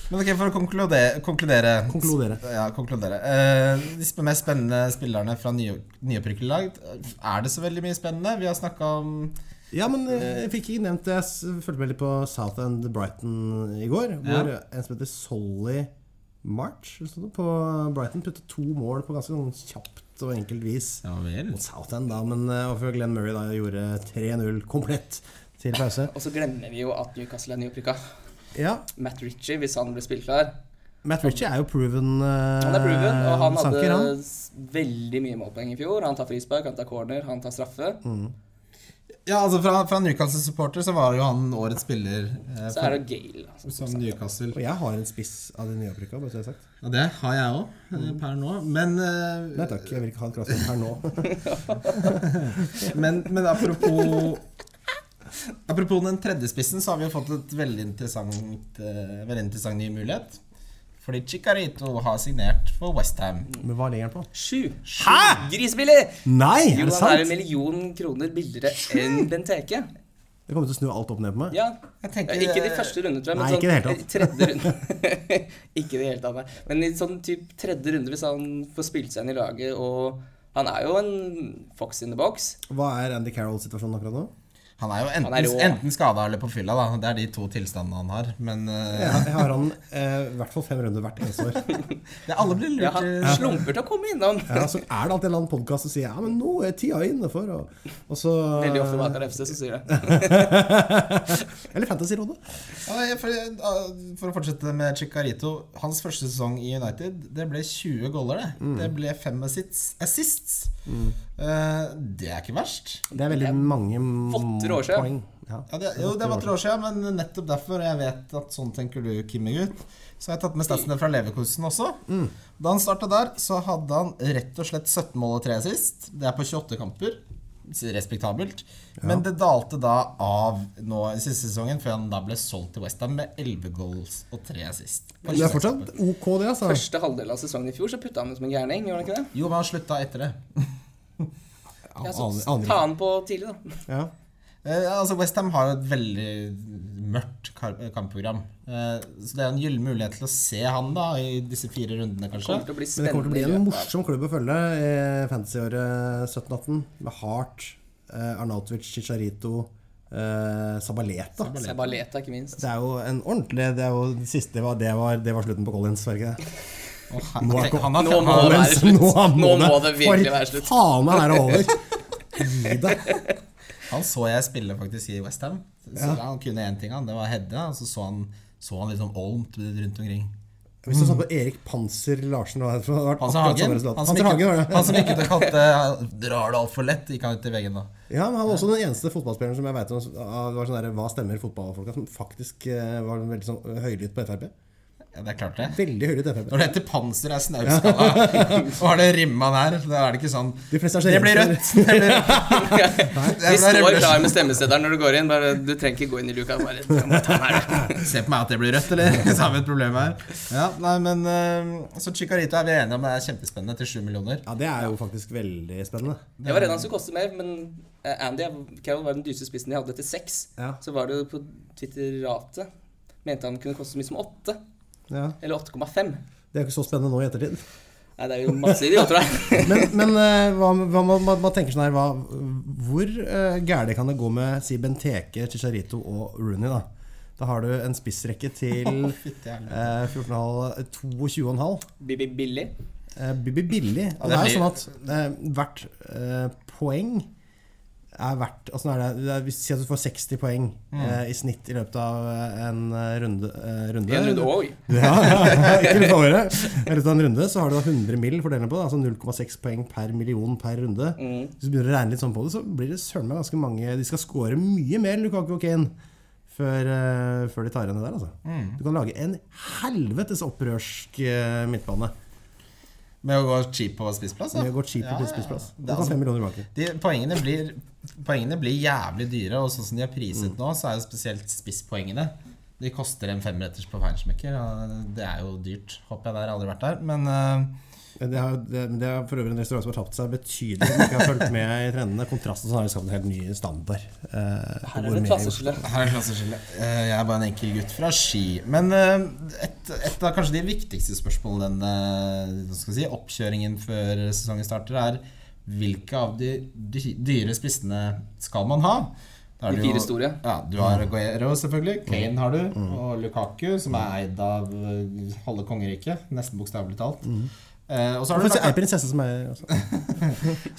Speaker 1: Men ok, For å konkludere, konkludere
Speaker 3: Konkludere.
Speaker 1: Ja, konkludere. Eh, de sp- mest spennende spillerne fra nye, nyopprykket lag, er det så veldig mye spennende? Vi har snakka om
Speaker 3: Ja, men eh, jeg fikk ikke nevnt det. Jeg s- fulgte med litt på South End Brighton i går. Hvor en som heter Solly March eller sånt, på Brighton putta to mål på ganske sånn kjapt og enkelt vis.
Speaker 1: Ja vel.
Speaker 3: Mot South End, da, men eh, og før Glenn Murray da gjorde 3-0 komplett til pause.
Speaker 2: Og så glemmer vi jo at Newcastle er nyopprykka.
Speaker 3: Ja,
Speaker 2: Matt Ritchie, hvis han blir spillklar
Speaker 3: Matt Ritchie er jo proven, eh,
Speaker 2: Han er proven, og han hadde
Speaker 3: sanker, han.
Speaker 2: s- veldig mye målpoeng i fjor. Han tar frispark, han tar corner, han tar straffe.
Speaker 3: Mm.
Speaker 1: Ja, altså Fra, fra Newcastle-supporter så var jo han årets spiller eh,
Speaker 2: Så er det Gale. da, som-
Speaker 1: for, som Newcastle.
Speaker 3: Og jeg har en spiss av de nyopprykka, bare så det er sagt.
Speaker 1: Og det har jeg òg eh, per nå. Men, eh,
Speaker 3: Nei takk, jeg vil ikke ha en crossfit her nå.
Speaker 1: men, men apropos Apropos den tredje spissen, så har vi jo fått et veldig interessant, eh, veldig interessant ny mulighet. Fordi Chicarito har signert for Westham.
Speaker 3: Men hva ligger den på?
Speaker 2: Sju.
Speaker 3: Hæ?!
Speaker 2: Grisebillig!
Speaker 3: Nei,
Speaker 2: Jo, han
Speaker 3: er det
Speaker 2: er en
Speaker 3: sant?
Speaker 2: million kroner billigere enn Benteke.
Speaker 3: Det kommer til å snu alt opp ned på meg.
Speaker 2: Ja.
Speaker 1: Jeg tenker- eh,
Speaker 2: Ja, ikke de første rundene, tror jeg, men
Speaker 3: Nei, ikke i det hele
Speaker 2: sånn tredje runde. ikke i det hele tatt, nei. Men i sånn typ tredje runde, hvis han får spilt seg inn i laget, og han er jo en fox in the box.
Speaker 3: Hva er Andy Carrolls situasjon akkurat nå?
Speaker 1: Han er jo
Speaker 2: Han er
Speaker 1: enten,
Speaker 2: rå.
Speaker 1: enten skada eller på fylla, da. Det er de to tilstandene han har. Men eh,
Speaker 3: Jeg jeg har han eh, i hvert fall fem runder hvert eneste år.
Speaker 1: det, alle blir
Speaker 2: Ja,
Speaker 1: lurt.
Speaker 2: han
Speaker 1: til-
Speaker 2: slumper til å komme innom.
Speaker 3: Ja, så er det alltid en eller annen podkast som sier ja, men nå er tida inne for og, og så
Speaker 2: Veldig ofte bak av FC som sier det.
Speaker 3: Eller Fantasyrådet.
Speaker 1: Ja, nei, for, eh, for å fortsette med Chicarito. Hans første sesong i United, det ble 20 goller, det. Det ble fem assists. assists. Eh, det er ikke verst.
Speaker 3: Det er veldig mange m-
Speaker 2: Åtte år siden.
Speaker 3: poeng. Ja.
Speaker 1: Ja, det, jo, det var tre år siden, men nettopp derfor, og jeg vet at sånn tenker du, Kimmegutt, så har jeg tatt med statsene fra Leverkusen også.
Speaker 3: Mm.
Speaker 1: Da han starta der, så hadde han rett og slett 17 mål og 3 sist. Det er på 28 kamper. så Respektabelt. Men det dalte da av nå i siste sesongen, før han da ble solgt til Westham med 11 goals og 3 sist. På
Speaker 3: Det er
Speaker 1: 26
Speaker 3: fortsatt
Speaker 1: kamper.
Speaker 3: ok, det, altså.
Speaker 2: Første halvdel av sesongen i fjor så putta han ut som en gærning, gjorde han ikke det?
Speaker 1: Jo, men han slutta etter det.
Speaker 2: Ja,
Speaker 3: Aner-
Speaker 2: så ta
Speaker 3: aner ikke.
Speaker 2: han på tidlig, da.
Speaker 3: Ja.
Speaker 1: Eh, altså Westham har jo et veldig mørkt kar- kampprogram. Eh, så det er en gyllen mulighet til å se han da i disse fire rundene, kanskje.
Speaker 2: Kommer til å bli
Speaker 3: Men det kommer
Speaker 2: spennende.
Speaker 3: til å bli
Speaker 2: i
Speaker 3: en
Speaker 2: løpet av-
Speaker 3: morsom klubb å følge i fantasyåret 17-18. Med Hart, eh, Arnautovic, Chicharito, eh, Sabaleta.
Speaker 2: Sabaleta, ikke minst.
Speaker 3: Det er jo en ordentlig Det er jo det siste det var, det var, det var slutten på Collins, var det ikke det?
Speaker 1: Å, han,
Speaker 3: Nå er
Speaker 1: tenk-
Speaker 3: det-
Speaker 1: han har,
Speaker 2: Nå må det
Speaker 1: han,
Speaker 2: være slutt. Nå må det virkelig
Speaker 3: for
Speaker 2: være slutt.
Speaker 3: Faen, er det over? Gi deg.
Speaker 1: han så jeg spille faktisk i Westham. Ja. Han kunne én ting, han. Det var Hedde. Og så så han, så han litt sånn olmt rundt omkring.
Speaker 3: Hvis du så på Erik Panser Larsen hva er det for- det har vært
Speaker 1: Hansen
Speaker 3: akkurat
Speaker 1: Hagen.
Speaker 3: samme resultat.
Speaker 1: Han som
Speaker 3: Panser
Speaker 1: gikk
Speaker 3: Hagen var
Speaker 1: ut-
Speaker 3: det.
Speaker 1: han som gikk ut og kalte eh, 'drar det altfor lett', gikk han ut i veggen da.
Speaker 3: Ja, men han var også den eneste fotballspilleren som jeg vet om som- av- var sånn der, Hva stemmer fotballfolka? Som faktisk eh, var veldig sånn høylytt på Frp.
Speaker 1: Ja, det er klart, det.
Speaker 3: Veldig høylytt Frp.
Speaker 1: Når det heter panser, er snaupskalla. Og har det rimma der, da er det ikke sånn
Speaker 3: De fleste er
Speaker 1: Det blir
Speaker 3: sjeldent-
Speaker 1: rødt! Det blir rødt.
Speaker 2: Vi står klar med stemmeseddelen når du går inn. Bare, du trenger ikke gå inn i luka. Bare, jeg må ta den her.
Speaker 1: Se på meg at det blir rødt, eller? Så har vi et problem her. Ja, nei, men eh, Så Chicarito er vi enige om det er kjempespennende til 7 millioner.
Speaker 3: Ja, det er jo faktisk veldig spennende.
Speaker 2: Jeg var redd han skulle koste mer, men eh, Andy Carroll var den dyreste spissen de hadde til seks.
Speaker 3: Ja.
Speaker 2: Så var det jo på Twitter-ratet. Mente han kunne koste så mye som åtte.
Speaker 3: Ja.
Speaker 2: Eller 8,5.
Speaker 3: Det er jo ikke så spennende nå i ettertid.
Speaker 2: Nei, det er jo masse idioter der.
Speaker 3: Men, men eh, hva, hva man, man, man tenker sånn her hva, Hvor uh, gærent kan det gå med si Benteke, Chicharito og Rooney, da? Da har du en spissrekke til
Speaker 1: fytti helvete.
Speaker 3: eh, 14,5 22,5.
Speaker 2: Bibi Billy.
Speaker 3: Eh, det blir billig. Og det
Speaker 1: det
Speaker 3: er
Speaker 1: blir-
Speaker 3: jo sånn at eh, hvert eh, poeng er verdt altså, nå er det, det er, Hvis si at du får 60 poeng eh, i snitt i løpet av eh, en eh, runde, eh, runde
Speaker 2: I en runde òg.
Speaker 3: ja, ja, ikke litt over det. I løpet av en runde så har du da 100 mill. fordelene på, da, altså 0,6 poeng per million per runde.
Speaker 2: Mm.
Speaker 3: Hvis du begynner å regne litt sånn på det, så blir det søren meg ganske mange De skal score mye mer enn Lukaku og Kane før, eh, før de tar igjen det der, altså.
Speaker 1: Mm.
Speaker 3: Du kan lage en helvetes opprørsk eh, midtbane
Speaker 1: Med å gå cheap på spissplass? da.
Speaker 3: med å gå cheap
Speaker 1: Ja,
Speaker 3: på
Speaker 1: ja, ja.
Speaker 3: spissplass.
Speaker 1: Det
Speaker 3: Du
Speaker 1: er
Speaker 3: kan
Speaker 1: altså-
Speaker 3: fem millioner i banken.
Speaker 1: de, poengene, blir, poengene blir jævlig dyre, og sånn som de er priset
Speaker 3: Mm.
Speaker 1: nå, så er jo spesielt spisspoengene. De koster en femretters på Feinschmecker, og det er jo dyrt. Håper jeg det har aldri vært der, men eh,
Speaker 3: Det er, det, det er for øvrig en restaurant som har tapt seg betydelig. Som ikke har fulgt med i trendene. Kontrasten så har de skapt en helt ny standard. eh,
Speaker 2: Her
Speaker 3: hvor
Speaker 2: er det
Speaker 3: med-
Speaker 2: klasseskille.
Speaker 1: Her er klasseskille. Eh, Jeg er bare en enkel gutt fra Ski. Men eh, et, et av kanskje de viktigste spørsmålene denne hva skal jeg si, oppkjøringen før sesongen starter, er hvilke av de dy- dyre spissene skal man ha? Da er
Speaker 2: De
Speaker 1: det jo-
Speaker 2: fire store.
Speaker 1: Ja, du har Guerrero, selvfølgelig. Kane har du. Og Lukaku, som er eid av eh, halve kongeriket. Nesten bokstavelig talt. Eh, og så har du
Speaker 3: Hvorfor
Speaker 1: Lukaku-
Speaker 3: er prinsesse som er også?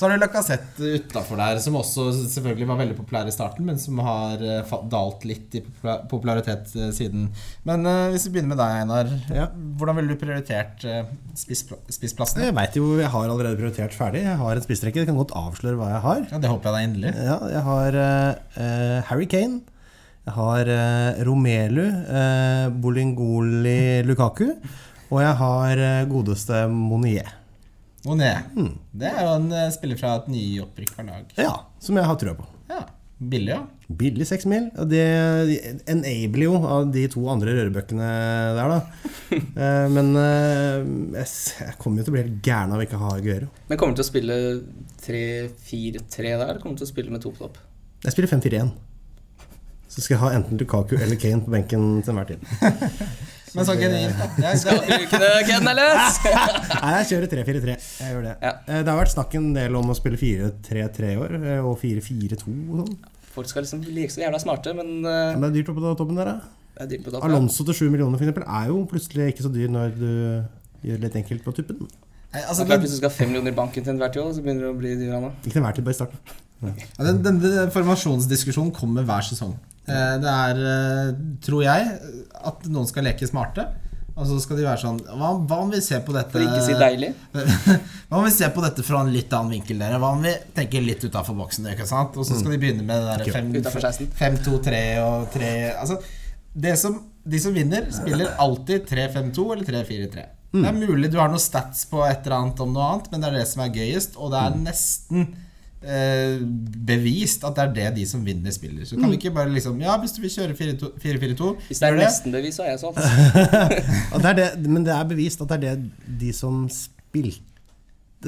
Speaker 1: så har du Lacassette utafor der, som også selvfølgelig var veldig populær i starten, men som har eh, fa- dalt litt i popula- popularitet eh, siden. Men eh, hvis vi begynner med deg, Einar.
Speaker 3: Ja.
Speaker 1: Hvordan ville du prioritert eh, spisspla- spissplassene?
Speaker 3: Jeg veit jo jeg har allerede prioritert ferdig. Jeg har en spissrekke. Jeg kan godt avsløre hva jeg har.
Speaker 1: Ja, det håper jeg da inderlig.
Speaker 3: Ja, jeg har eh, eh, Harry Kane. Jeg har eh, Romelu, eh, Bolingoli Lukaku. Og jeg har eh, godeste Monier.
Speaker 1: Monet. Det er jo en eh, spiller fra et nyopprykka lag.
Speaker 3: Ja, som jeg har trua på.
Speaker 1: Ja.
Speaker 4: Billig, ja.
Speaker 3: Billig seks mil. Og det enabler jo av de to andre rørebøkene der, da. Eh, Men eh, jeg, s- jeg kommer jo til å bli helt gæren av ikke å ha Guero.
Speaker 2: Men kommer du til å spille 3-4-3 der, eller kommer du til å spille med to på topp?
Speaker 3: Jeg spiller 5-4-1. Så skal jeg ha enten Lukaku eller Kane på benken til enhver tid.
Speaker 1: Men så genuint. da. Det er- det er-
Speaker 2: Bruke det, Ken, eller?
Speaker 3: Nei, jeg kjører 3-4-3. Jeg gjør det.
Speaker 2: Ja.
Speaker 3: Eh, Det har vært snakk en del om å spille 4-3-3 i år, eh, og 4-4-2 og sånn.
Speaker 2: Folk skal liksom leke så jævla smarte, men eh,
Speaker 3: Men det er dyrt oppe på toppen der, da.
Speaker 2: jeg driver på topp. ja.
Speaker 3: Alonso til 7 millioner for eksempel er jo plutselig ikke så dyr når du gjør det litt enkelt på tuppen.
Speaker 1: Nei,
Speaker 2: Det
Speaker 1: altså,
Speaker 2: er
Speaker 1: den,
Speaker 2: klart, Hvis du skal ha fem millioner i banken til enhver tid, så begynner det å bli dyrt. nå.
Speaker 3: Ikke til enhver tid, bare i starten.
Speaker 1: Ja, den, den, den formasjonsdiskusjonen kommer hver sesong. Eh, Det er, eh, tror jeg, at noen skal leke smarte. Og så skal de være sånn Hva, hva om vi ser på dette
Speaker 2: For ikke å
Speaker 3: Eh,
Speaker 2: si deilig.
Speaker 1: Hva om vi ser på dette fra en litt annen vinkel, dere? Hva om vi tenker litt utafor boksen? Ikke sant? Og så skal de begynne med det der fem-
Speaker 2: Utenfor 16.
Speaker 1: 5-2-3 og 3 Altså, det som, de som vinner, spiller alltid 3-5-2 eller 3-4-3. Det er mulig du har noen stats på et eller annet om noe annet, men det er det som er gøyest, og det er nesten eh, bevist at det er det de som vinner, spiller. Så kan vi ikke bare liksom Ja, hvis du vil kjøre 4-2, 4-4-2,
Speaker 2: Hvis det
Speaker 1: gjør
Speaker 2: er
Speaker 1: det.
Speaker 2: nesten bevis, så er jeg solgt.
Speaker 3: Og det er det, men det er bevist at det er det de som spilte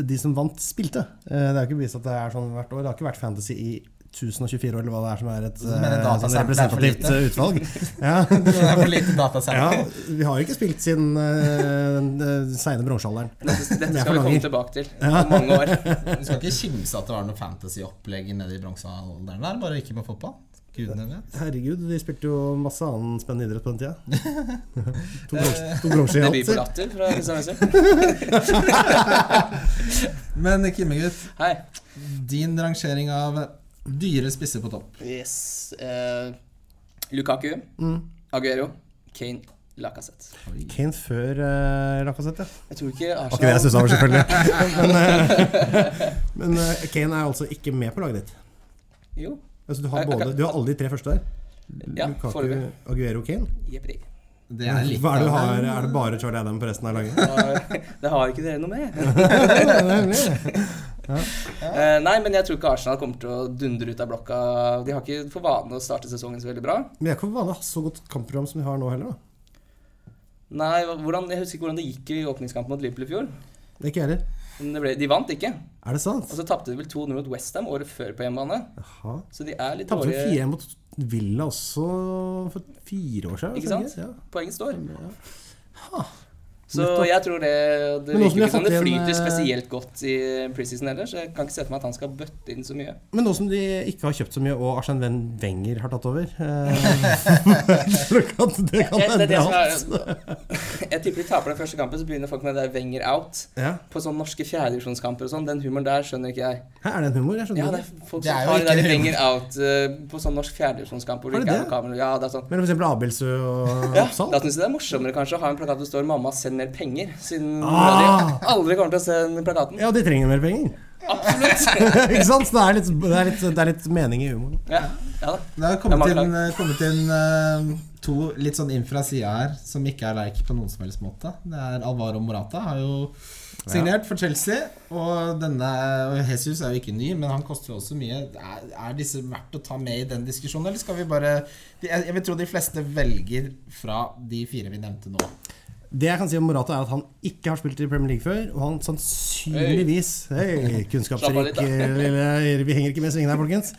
Speaker 3: De som vant, spilte. Eh, Det er jo ikke bevist at det er sånn hvert år. Det har ikke vært fantasy i 1024 år, eller hva det er som er et
Speaker 1: mener
Speaker 3: eh,
Speaker 1: datasample
Speaker 3: sånn
Speaker 1: er for
Speaker 3: representativt eh, utvalg. Ja.
Speaker 1: Det er for lite
Speaker 3: ja,
Speaker 1: datasett.
Speaker 3: vi har jo ikke spilt siden eh, den eh, seine bronsealderen.
Speaker 2: Dette,
Speaker 3: Men jeg
Speaker 2: dette skal vi
Speaker 3: forlanger.
Speaker 2: komme tilbake til om mange år.
Speaker 1: Du skal ikke kimse at det var noe fantasy-opplegg nede i bronsealderen der, bare ikke med fotball. Gudene vet.
Speaker 3: Herregud, de spilte jo masse annen spennende idrett på den tida. To brons- to bronser i
Speaker 2: Debut
Speaker 3: alt.
Speaker 2: på Latter fra Kristian Wessel.
Speaker 1: Men Kimmegutt,
Speaker 2: Hei.
Speaker 1: din rangering av dyre spisser på topp.
Speaker 2: Yes. eh, Lukaku,
Speaker 3: Mm.
Speaker 2: Aguero, Kane, Lacassette.
Speaker 3: Kane før uh, Lacassette, ja.
Speaker 2: Jeg tror ikke
Speaker 3: Var ikke det jeg
Speaker 2: Arsenal
Speaker 3: stussa over, selvfølgelig. men eh, men eh, Kane er altså ikke med på laget ditt.
Speaker 2: Jo.
Speaker 3: Altså, du, har
Speaker 2: Nei,
Speaker 3: både,
Speaker 2: akkurat-
Speaker 3: du har alle de tre første der.
Speaker 2: Ja,
Speaker 3: Lukaku,
Speaker 2: foreløpig.
Speaker 3: Aguero, Kane.
Speaker 2: Jepperi.
Speaker 1: Det
Speaker 3: Hva
Speaker 1: er litt
Speaker 3: er, det du
Speaker 1: av
Speaker 3: har,
Speaker 1: en-
Speaker 3: er det bare Charlie Adam på resten av laget?
Speaker 2: Det har ikke dere noe med.
Speaker 3: Nei,
Speaker 2: Eh, nei, men jeg tror ikke Arsenal kommer til å dundre ut av blokka. De har ikke for vane å starte sesongen så veldig bra.
Speaker 3: Men jeg er ikke vanlig å ha så godt kampprogram som vi har nå heller. da
Speaker 2: Nei, hvordan, Jeg husker ikke hvordan det gikk i åpningskampen mot Liverpool i fjor.
Speaker 3: Det er ikke jeg heller.
Speaker 2: Men det ble, de vant ikke.
Speaker 3: Er det sant?
Speaker 2: Og så tapte de vel 2-0 mot Westham året før på hjemmebane.
Speaker 3: Jaha.
Speaker 2: Så de er litt
Speaker 3: Tapte jo
Speaker 2: dårlige.
Speaker 3: 4-1 mot Villa også for fire år siden.
Speaker 2: Ikke
Speaker 3: var det
Speaker 2: sant?
Speaker 3: Ja.
Speaker 2: Poenget står.
Speaker 3: Ja.
Speaker 2: Så
Speaker 3: Nettopp.
Speaker 2: jeg tror det Det
Speaker 3: Men
Speaker 2: virker
Speaker 3: nå som vi har
Speaker 2: ikke som det
Speaker 3: fått inn,
Speaker 2: flyter
Speaker 3: eh,
Speaker 2: spesielt godt i preseason heller, så jeg kan ikke se for meg at han skal bøtte inn så mye.
Speaker 3: Men nå som de ikke har kjøpt så mye, og Arsène Wen- Wenger har tatt over eh, så kan, Det kan
Speaker 2: Jeg, det er det
Speaker 3: endre
Speaker 2: som
Speaker 3: alt.
Speaker 2: er, jeg tipper de taper den første kampen, så begynner folk med det der Wenger out.
Speaker 3: Ja.
Speaker 2: På sånne norske fjerdedivisjonskamper og sånn. Den humoren der skjønner ikke jeg.
Speaker 3: Hæ, er det en humor? Jeg skjønner
Speaker 2: Ja, det
Speaker 3: ikke.
Speaker 2: er folk
Speaker 1: Det
Speaker 2: som
Speaker 1: er jo
Speaker 2: har det
Speaker 1: ikke
Speaker 2: der
Speaker 1: humor.
Speaker 2: Wenger out eh, på sånn norsk fjerdedivisjonskamp hvor
Speaker 3: Har
Speaker 2: det
Speaker 3: de
Speaker 2: ikke er
Speaker 3: det?
Speaker 2: noe kamera. Ja, det er sånn.
Speaker 3: Mellom for eksempel Abelsø og
Speaker 2: Ja,
Speaker 3: Oppsal?
Speaker 2: da syns jeg det er morsommere kanskje å ha en plakat hvor det står 'Mamma, send mer penger', siden
Speaker 3: Ah!
Speaker 2: de aldri kommer til å se den plakaten.
Speaker 3: Ja, de trenger mer penger. Absolutt. ikke sant? Så det er, litt, det, er litt, det er litt mening i humoren.
Speaker 2: Ja, ja da.
Speaker 1: Det har
Speaker 2: Det
Speaker 1: kommet
Speaker 2: er
Speaker 1: inn,
Speaker 2: mange
Speaker 1: eh, kommet inn eh, to litt sånn inn fra sida her, som ikke er like på noen som helst måte. Det er Alvaro Morata. Har jo signert for Chelsea. Og denne og Jesus er jo ikke ny, men han koster jo også mye. Er, er disse verdt å ta med i den diskusjonen, eller skal vi bare de- Jeg, jeg vil tro de fleste velger fra de fire vi nevnte nå.
Speaker 3: Det jeg kan si om Morata, er at han ikke har spilt i Premier League før. Og han sannsynligvis Hei,
Speaker 2: Slapp av litt,
Speaker 3: Kunnskapsrik eh,
Speaker 2: da.
Speaker 3: lille Vi henger ikke med i svingene her, folkens.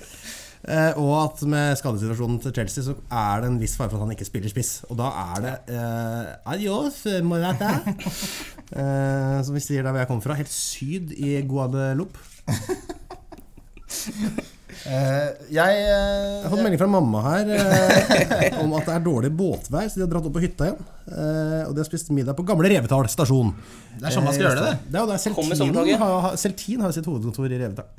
Speaker 3: Eh, og at med skadesituasjonen til Chelsea så er det en viss fare for at han ikke spiller spiss. Og da er det eh, adios, Morata. eh, som vi sier der hvor jeg kommer fra, helt syd i Guadeloupe.
Speaker 1: Eh, jeg
Speaker 3: Jeg
Speaker 1: eh,
Speaker 3: har fått melding fra mamma her eh, om at det er dårlig båtvær, så de har dratt opp på hytta igjen. Eh, og de har spist middag på Gamle Revetal stasjon.
Speaker 1: Det er sånn man skal gjøre det, det.
Speaker 3: Det er jo der
Speaker 2: Kommer
Speaker 3: Seltin
Speaker 2: sommertoget.
Speaker 3: har, har- Seltin har sitt hovedkontor i Revetal.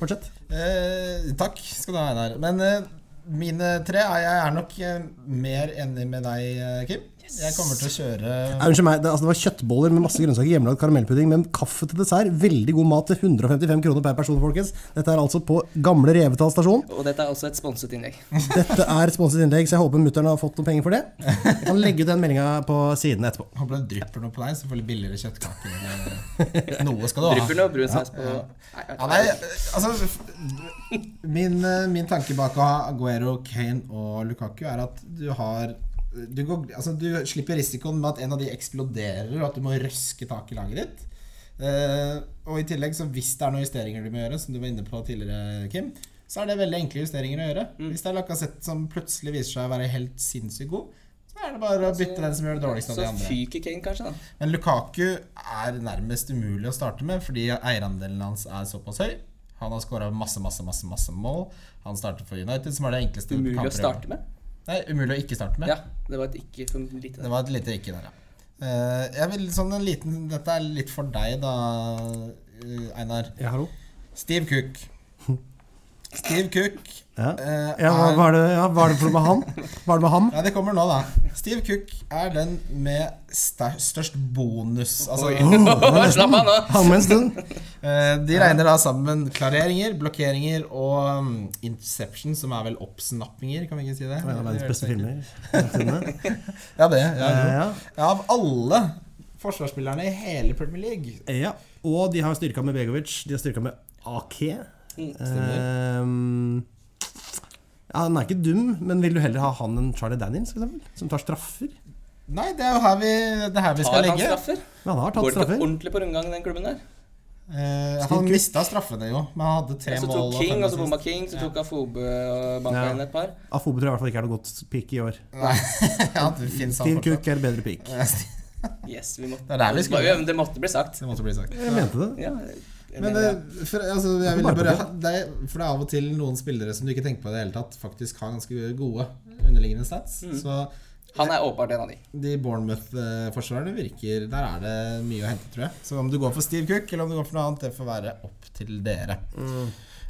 Speaker 3: Fortsett.
Speaker 1: Eh, takk skal du ha, Einar. Men eh, mine tre er jeg er nok eh, mer enig med deg, eh, Kim. Jeg kommer til å kjøre
Speaker 3: Nei, Unnskyld meg, det, altså, det var kjøttboller med masse grønnsaker, hjemmelagd karamellpudding, men kaffe til dessert. Veldig god mat til 155 kroner per person, folkens. Dette er altså på gamle Revetal stasjon.
Speaker 2: Og dette er også et sponset innlegg.
Speaker 3: Dette er sponset innlegg, så jeg håper mutter'n har fått noen penger for det. Jeg kan legge ut den meldinga på siden etterpå.
Speaker 1: Håper det drypper noe på deg, så får du litt billigere kjøttkaker. eh, Noe skal du ha.
Speaker 2: Drypper noe brun saus på Nei, jeg
Speaker 1: Ja,
Speaker 2: vet
Speaker 1: nei,
Speaker 2: ikke.
Speaker 1: altså f- min, eh, min tanke bak å ha Aguero, Kane og Lukaku er at du har du, går, altså, du slipper risikoen med at en av de eksploderer, og at du må røske tak i laget ditt. Eh, og i tillegg, så hvis det er noen justeringer du må gjøre, som du var inne på tidligere, Kim, så er det veldig enkle justeringer å gjøre. Hvis det er Lacassette som plutselig viser seg å være helt sinnssykt god, så er det bare å bytte den som gjør det dårligst av de
Speaker 2: Så
Speaker 1: andre.
Speaker 2: fyker Kane, kanskje, da.
Speaker 1: Men Lukaku er nærmest umulig å starte med fordi eierandelen hans er såpass høy. Han har skåra masse, masse, masse masse mål. Han starter for United, som er det enkleste
Speaker 2: Umulig å
Speaker 1: kampprogrammet.
Speaker 2: starte med.
Speaker 1: Nei, umulig å ikke starte med.
Speaker 2: Ja, det var et ikke for lite.
Speaker 1: Det
Speaker 2: der.
Speaker 1: var et lite ikke der, ja. Eh, jeg vil sånn en liten Dette er litt for deg, da, eh, Einar.
Speaker 3: Ja, hallo?
Speaker 1: Steve Cook. Steve Cook
Speaker 3: Ja.
Speaker 1: eh,
Speaker 3: Ja, hva,
Speaker 1: er-
Speaker 3: hva er det, ja, hva er det for noe med han? Hva er det med ham?
Speaker 1: Ja, det kommer nå, da. Steve Cook er den med sta- størst bonus. Altså,
Speaker 2: Slapp av nå!
Speaker 3: Han med en stund.
Speaker 1: Eh, De regner da sammen klareringer, blokkeringer og um, interception, som er vel oppsnappinger, kan vi ikke si det?
Speaker 3: Det var En av verdens beste filmer.
Speaker 1: Ja, det. Ja,
Speaker 3: Eh,
Speaker 1: jo.
Speaker 3: ja.
Speaker 1: ja, av alle forsvarsspillerne i hele Premier League.
Speaker 3: Eh, Ja, og de har styrka med Begovic, de har styrka med Ake.
Speaker 2: Mm,
Speaker 3: Ehm, ja, han er ikke dum, men vil du heller ha han enn Charlie Daniels, for eksempel? Som tar straffer?
Speaker 1: Nei, det er jo her vi, det er her vi skal
Speaker 2: Tar han
Speaker 1: legge.
Speaker 2: straffer?
Speaker 3: Men han har
Speaker 2: Går
Speaker 3: tatt
Speaker 2: det ikke
Speaker 3: straffer.
Speaker 2: ordentlig på rundgang, den klubben der?
Speaker 1: Eh,
Speaker 3: Cook.
Speaker 1: han mista straffene, jo. Men han hadde tre
Speaker 2: Så
Speaker 1: mål.
Speaker 2: tok King,
Speaker 1: fem
Speaker 2: og så bomma
Speaker 1: assist.
Speaker 2: King, så tok Afobe og banka
Speaker 3: Ja.
Speaker 2: inn et par.
Speaker 3: Afobe tror jeg i hvert fall ikke er noe godt pick i år.
Speaker 1: Nei, ja, det finnes han
Speaker 3: Steve
Speaker 1: fortsatt.
Speaker 3: Cook er bedre pick.
Speaker 2: Yes, vi måtte
Speaker 1: Det er der vi skulle.
Speaker 2: Det måtte bli sagt.
Speaker 1: Det måtte bli sagt.
Speaker 3: Jeg mente det.
Speaker 2: Ja, jeg
Speaker 1: Men
Speaker 2: mener,
Speaker 1: eh, for, altså, jeg ville
Speaker 3: Bare
Speaker 1: bare,
Speaker 3: på
Speaker 1: det er, for det er av og til noen spillere som du ikke tenker på i det hele tatt, faktisk har ganske gode underliggende stats.
Speaker 3: Mm.
Speaker 1: Så
Speaker 2: ja. Han er åpenbart en av de.
Speaker 1: de Bournemouth-forsvarerne virker Der er det mye å hente, tror jeg. Så om du går for Steve Cook, eller om du går for noe annet, det får være opp til dere.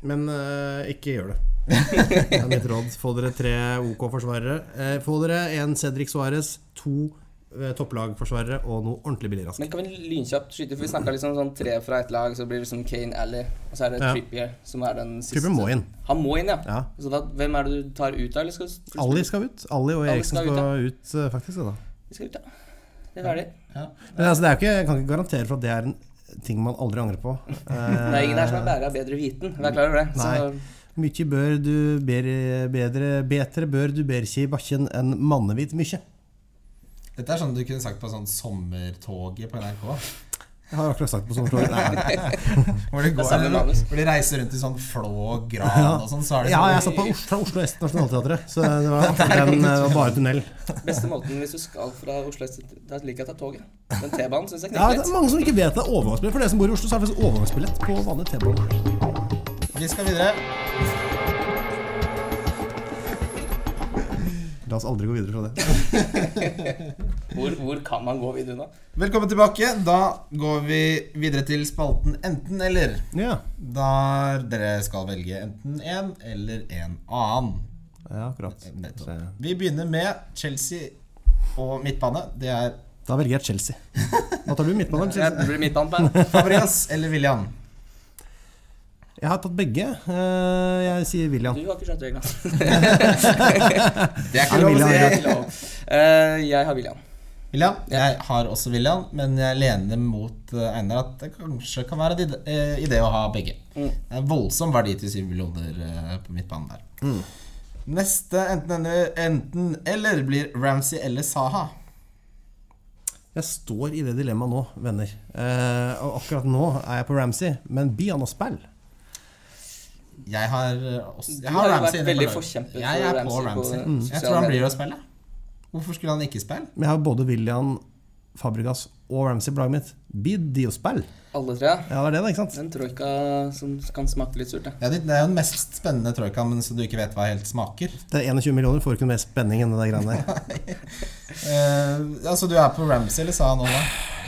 Speaker 3: Men eh, ikke gjør det. Det er mitt råd. Få dere tre OK-forsvarere. få dere en Cedric Suárez, to eh, topplagforsvarere og noe ordentlig billig raskt.
Speaker 2: Men kan vi lynkjapt skyte, for vi snakka liksom sånn tre fra ett lag, så blir det liksom Kane Alley, og så er det
Speaker 3: Ja.
Speaker 2: Trippier, som er den siste.
Speaker 3: Trippier må inn.
Speaker 2: Han må inn, ja.
Speaker 3: Ja.
Speaker 2: Så da, hvem er det du tar ut av, eller skal du
Speaker 3: Ali skal ut. Ali og
Speaker 2: Ali
Speaker 3: Eriksen
Speaker 2: skal ut,
Speaker 3: skal ut, eh, faktisk. Da.
Speaker 2: Vi skal ut, ja. Det er ferdig.
Speaker 1: Ja.
Speaker 3: Men altså, det er jo ikke, jeg kan ikke garantere for at det er en ting man aldri angrer på. Eh,
Speaker 2: Det er ingen her som er bærer av bedre viten. Vær klar over det.
Speaker 3: Nei. mykje bør du ber bedre, betre bør du berkje i bakken enn mannehvit mykje.
Speaker 1: Dette er sånn du kunne sagt på sånn sommertoget på NRK.
Speaker 3: Jeg har akkurat sagt på sånn slår. Nei.
Speaker 1: Hvor de, går,
Speaker 2: samme manus.
Speaker 1: hvor de reiser rundt i sånn flå og gran og sånn. Så er det
Speaker 3: Ja, jeg
Speaker 1: sånn,
Speaker 3: satt på Oslo, fra Oslo S til Nationaltheatret, så det var akkurat den eh, var bare tunnel.
Speaker 2: Så beste måten hvis du skal fra Oslo S til Da liker jeg å ta toget. Den T-banen syns jeg
Speaker 3: Ja,
Speaker 2: kniper
Speaker 3: det er
Speaker 2: litt.
Speaker 3: mange som ikke vet det er overgangsbillett. For dere som bor i Oslo, så er det faktisk overgangsbillett på vanlig T-bane.
Speaker 1: Vi skal videre.
Speaker 3: La oss aldri gå videre fra det.
Speaker 2: Hvor, hvor kan man gå videre nå?
Speaker 1: Velkommen tilbake. Da går vi videre til spalten Enten-eller.
Speaker 3: Ja,
Speaker 1: Der dere skal velge enten en eller en annen.
Speaker 3: ja akkurat.
Speaker 1: Nettopp.
Speaker 3: Så,
Speaker 1: Vi begynner med Chelsea og midtbane. Det er
Speaker 3: Da velger jeg Chelsea. Hva tar du midtbane? eller Chelsea?
Speaker 2: Jeg blir midtbanen på den.
Speaker 1: Fabrias eller William.
Speaker 3: Jeg har tatt begge. Eh, Jeg sier William.
Speaker 2: Du har ikke skjønt reglene.
Speaker 1: Det er
Speaker 3: Ja,
Speaker 1: ikke lov å
Speaker 3: William,
Speaker 1: si.
Speaker 3: William.
Speaker 2: Det er ikke lov. Eh, jeg har William.
Speaker 1: William. Jeg har også William, men jeg lener mot eh, Einar at det kanskje kan være en ide- eh, idé å ha begge.
Speaker 3: Mm.
Speaker 1: Det er en voldsom verdi til 7 millioner eh, på midtbanen der.
Speaker 3: Mm.
Speaker 1: Neste enten-eller enten, eller blir Ramsey eller Saha.
Speaker 3: Jeg står i det dilemmaet nå, venner. Eh, og akkurat nå er jeg på Ramsey, men be han å spille.
Speaker 1: Jeg har eh, også
Speaker 2: Du
Speaker 1: jeg
Speaker 2: har jo
Speaker 1: Ramsey
Speaker 2: vært
Speaker 1: inne på
Speaker 2: veldig
Speaker 1: laget.
Speaker 2: forkjemper for
Speaker 1: Jeg er på
Speaker 2: Ramsey på
Speaker 1: Ramsey. Jeg
Speaker 2: Mm.
Speaker 1: tror han
Speaker 2: sosiale
Speaker 1: blir å spille. Hvorfor skulle han ikke spille?
Speaker 3: Men jeg har både William, Fabregas og Ramsey på laget mitt. Be de å spille.
Speaker 2: Alle tre.
Speaker 3: Ja, det er det, da, ikke sant?
Speaker 2: Den troika som kan smake litt surt, ja.
Speaker 1: Ja, det det er jo den mest spennende troikaen, men som du ikke vet hva helt smaker.
Speaker 3: Det er 21 millioner, får ikke noe mer spenning enn det der greiene der.
Speaker 1: Eh, altså, du er på Ramsey eller Saha nå, da?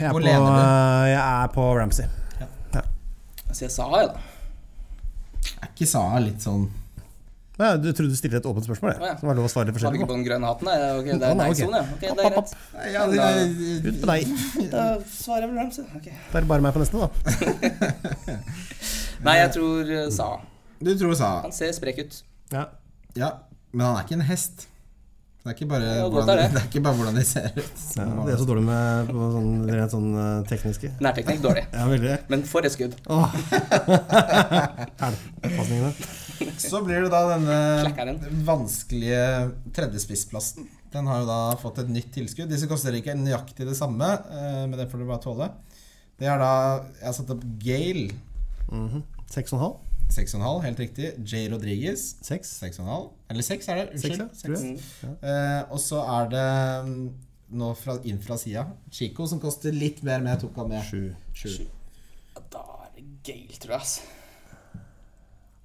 Speaker 3: Jeg er
Speaker 1: Hvor
Speaker 3: på, eh,
Speaker 1: lener du?
Speaker 3: jeg er på Ramsey.
Speaker 2: Så jeg sa ja, da.
Speaker 1: Er ikke Saha litt sånn
Speaker 3: Nei, du trodde du stilte et åpent spørsmål, jeg.
Speaker 2: Å, ja.
Speaker 3: Som var lov å
Speaker 2: Var
Speaker 3: svare
Speaker 2: det
Speaker 3: forskjellig
Speaker 2: ikke
Speaker 3: på.
Speaker 2: på den grønne hatten? Nei, ok, det
Speaker 3: Å,
Speaker 2: er
Speaker 3: nei, ok.
Speaker 2: nei-sone, ja. Ok, det er
Speaker 3: App, app,
Speaker 2: greit.
Speaker 1: Ja, det,
Speaker 3: Ut på deg.
Speaker 2: Da svarer jeg vel Ramsey. da. Ok.
Speaker 3: Det er bare meg på neste, da.
Speaker 2: Nei, jeg tror eh, Sa.
Speaker 1: du tror sa
Speaker 2: Han ser sprek ut.
Speaker 3: Ja.
Speaker 1: Ja, men han er ikke en hest. Det er ikke bare,
Speaker 2: Ja, godt
Speaker 1: hvordan,
Speaker 2: er
Speaker 1: det.
Speaker 2: det.
Speaker 1: er ikke bare hvordan de ser ut.
Speaker 3: Ja, det er så dårlig med på sånn, rent sånn eh, tekniske.
Speaker 2: Nærteknikk dårlig.
Speaker 3: Ja, veldig.
Speaker 2: Men for et skudd.
Speaker 3: Åh. Hælpasningene.
Speaker 1: Så blir det da
Speaker 2: Klakkeren.
Speaker 1: denne vanskelige tredjespissplassen. Den har jo da fått et nytt tilskudd. Disse koster ikke nøyaktig det samme, eh, men det får du bare tåle. Det er da Jeg har satt opp Gale
Speaker 3: Mhm. Seks og en halv?
Speaker 1: 6,5, helt riktig. J. Rodriguez
Speaker 3: Seks?
Speaker 1: 6,5. Eller 6 er det,
Speaker 3: Seks, Mm.
Speaker 1: unnskyld.
Speaker 3: ja, tror jeg.
Speaker 1: Eh, og så er det mm, nå fra, inn fra sida Chico, som koster litt mer, men jeg tok han med.
Speaker 3: Sju.
Speaker 1: Sju.
Speaker 2: Ja, Da er det Gale, tror jeg. ass.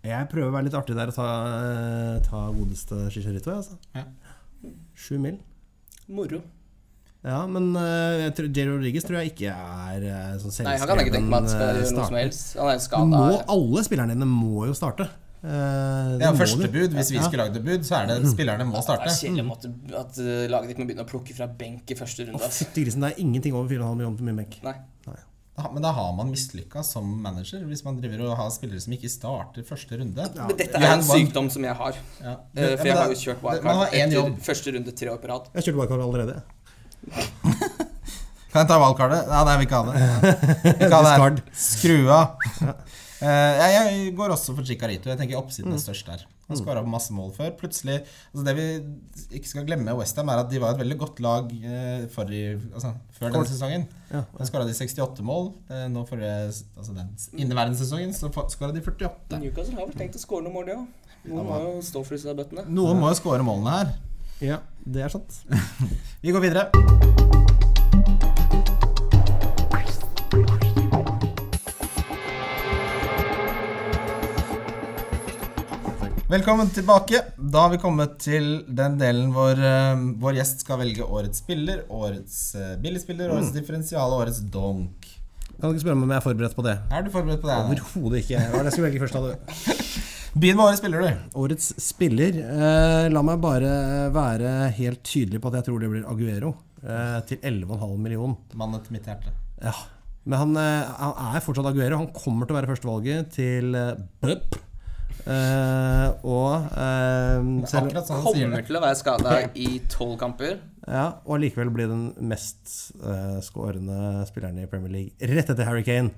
Speaker 3: Jeg prøver å være litt artig der og ta, eh, ta godeste Chicharito, jeg, altså.
Speaker 1: Ja.
Speaker 3: Sju mil.
Speaker 2: Moro.
Speaker 3: Ja, men eh, jeg tror- Jerry Rodriguez tror jeg ikke er eh, sånn
Speaker 2: Nei, han kan ikke tenke meg at han skal
Speaker 3: eh,
Speaker 2: gjøre noe som
Speaker 3: starter.
Speaker 2: helst. Han er jo
Speaker 3: Men
Speaker 2: skada.
Speaker 3: Nå, alle spillerne dine må jo starte. Eh, det
Speaker 1: Ja,
Speaker 3: må
Speaker 1: første
Speaker 3: du.
Speaker 1: bud. Hvis vi skulle lagd et bud, så er det spillerne må
Speaker 2: Det er
Speaker 1: starte.
Speaker 2: kjedelig om at, at eh, laget ditt må begynne å plukke fra benk i første runde. ass.
Speaker 3: Fytti grisen, det er ingenting over 4,5 millioner på min benk.
Speaker 2: Nei.
Speaker 1: Da- Men da har man mislykka som manager, hvis man driver og har spillere som ikke starter første runde.
Speaker 2: Men dette
Speaker 1: Ja,
Speaker 2: er
Speaker 1: han
Speaker 2: en
Speaker 1: vant.
Speaker 2: sykdom som jeg har.
Speaker 1: Ja.
Speaker 2: Eh, For jeg har jo kjørt
Speaker 1: Man
Speaker 2: wildcard
Speaker 1: har én
Speaker 2: etter
Speaker 1: jobb.
Speaker 2: første runde tre år på rad.
Speaker 3: Jeg kjørte wildcard allerede.
Speaker 1: Kan jeg ta valgkartet? Nei, nei, vi kan ha det. Vi kan ha det. Skru av. Eh, jeg, jeg går også for Chicarito. Jeg tenker oppsiden er størst der. Han skåra masse mål før. Plutselig altså Det vi ikke skal glemme med Westham, er at de var et veldig godt lag eh, forrige- altså, før denne sesongen.
Speaker 3: Ja.
Speaker 1: Da skåra de 68 mål. Eh, nå forrige altså den inneværende sesongen så skåra de 48.
Speaker 2: Newcastle har vel tenkt å skåre noen mål, de òg. Noen må jo stå for disse bøttene.
Speaker 1: Noen må jo skåre målene her.
Speaker 3: Ja, det er sant.
Speaker 1: Vi går videre. Velkommen tilbake. Da har vi kommet til den delen hvor eh, vår gjest skal velge årets spiller, årets eh, billigspiller, årets differensial og årets donk.
Speaker 3: Kan du ikke spørre meg om jeg er forberedt på det?
Speaker 1: Er du forberedt på det? Einar?
Speaker 3: Overhodet ikke. Hva er det jeg skulle velge først? Hadde.
Speaker 1: Begynn med årets spiller, du.
Speaker 3: Årets spiller. Eh, la meg bare være helt tydelig på at jeg tror det blir Aguero. Eh, til 11,5 million.
Speaker 1: Mannen til mitt hjerte.
Speaker 3: Ja. Men han, eh, han er fortsatt Aguero. Han kommer til å være førstevalget til eh, Bup. Eh, og eh, selv,
Speaker 1: Akkurat sånn han sier
Speaker 2: Kommer
Speaker 1: det.
Speaker 2: til å være skada i tolv kamper.
Speaker 3: ja, og allikevel blir den mest eh, skårende spilleren i Premier League rett etter Harry Kane.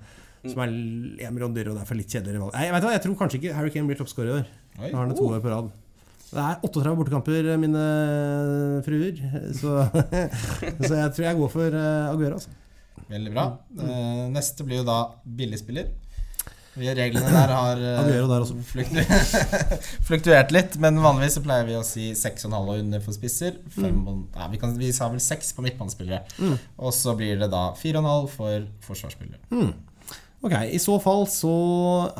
Speaker 3: Som er l- en million dyrere og derfor litt kjedeligere valg. Nei, vet du hva, Jeg tror kanskje ikke Harry Kane blir toppskårer i år.
Speaker 1: Oi.
Speaker 3: Nå har han det to år på rad. Det er 38 bortekamper, eh, mine eh, fruer. Så, så jeg tror jeg går for eh, Aguero. Altså.
Speaker 1: Veldig bra.
Speaker 3: Mm.
Speaker 1: Eh, neste blir jo da billigspiller. Vi- Reglene der har eh,
Speaker 3: Aguero der også.
Speaker 1: fluktu fluktuert litt, men vanligvis så pleier vi å si 6,5 og under for spisser.
Speaker 3: Mm.
Speaker 1: Fem og, nei, vi, kan, vi sa vel 6 på midtbanespillere. Og så blir det da 4,5 for forsvarsspillere.
Speaker 3: Mm. Ok, I så fall så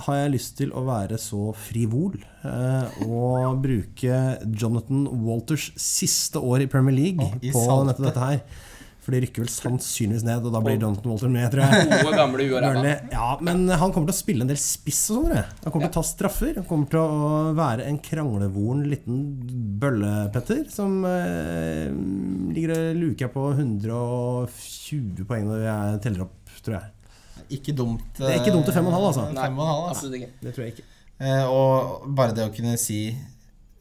Speaker 3: har jeg lyst til å være så frivol eh, og bruke Jonathan Walters siste år i Premier League
Speaker 1: Å, i
Speaker 3: på
Speaker 1: salte.
Speaker 3: nettopp dette her. For de rykker vel sannsynligvis ned, og da blir Jonathan Walter med, tror jeg.
Speaker 2: Gode, gamle uarama.
Speaker 3: Burnley. Ja, men han kommer til å spille en del spiss og sånn. tror jeg. Han kommer til å ta straffer. Han kommer til å være en kranglevoren liten bøllepetter som eh, ligger og luker på 120 poeng når jeg teller opp, tror jeg.
Speaker 1: Ikke dumt.
Speaker 3: Det er ikke dumt til 5,5, altså.
Speaker 1: eh,
Speaker 2: Nei,
Speaker 1: 5,5, altså.
Speaker 2: absolutt ikke.
Speaker 3: Det tror jeg ikke.
Speaker 1: Eh, og bare det å kunne si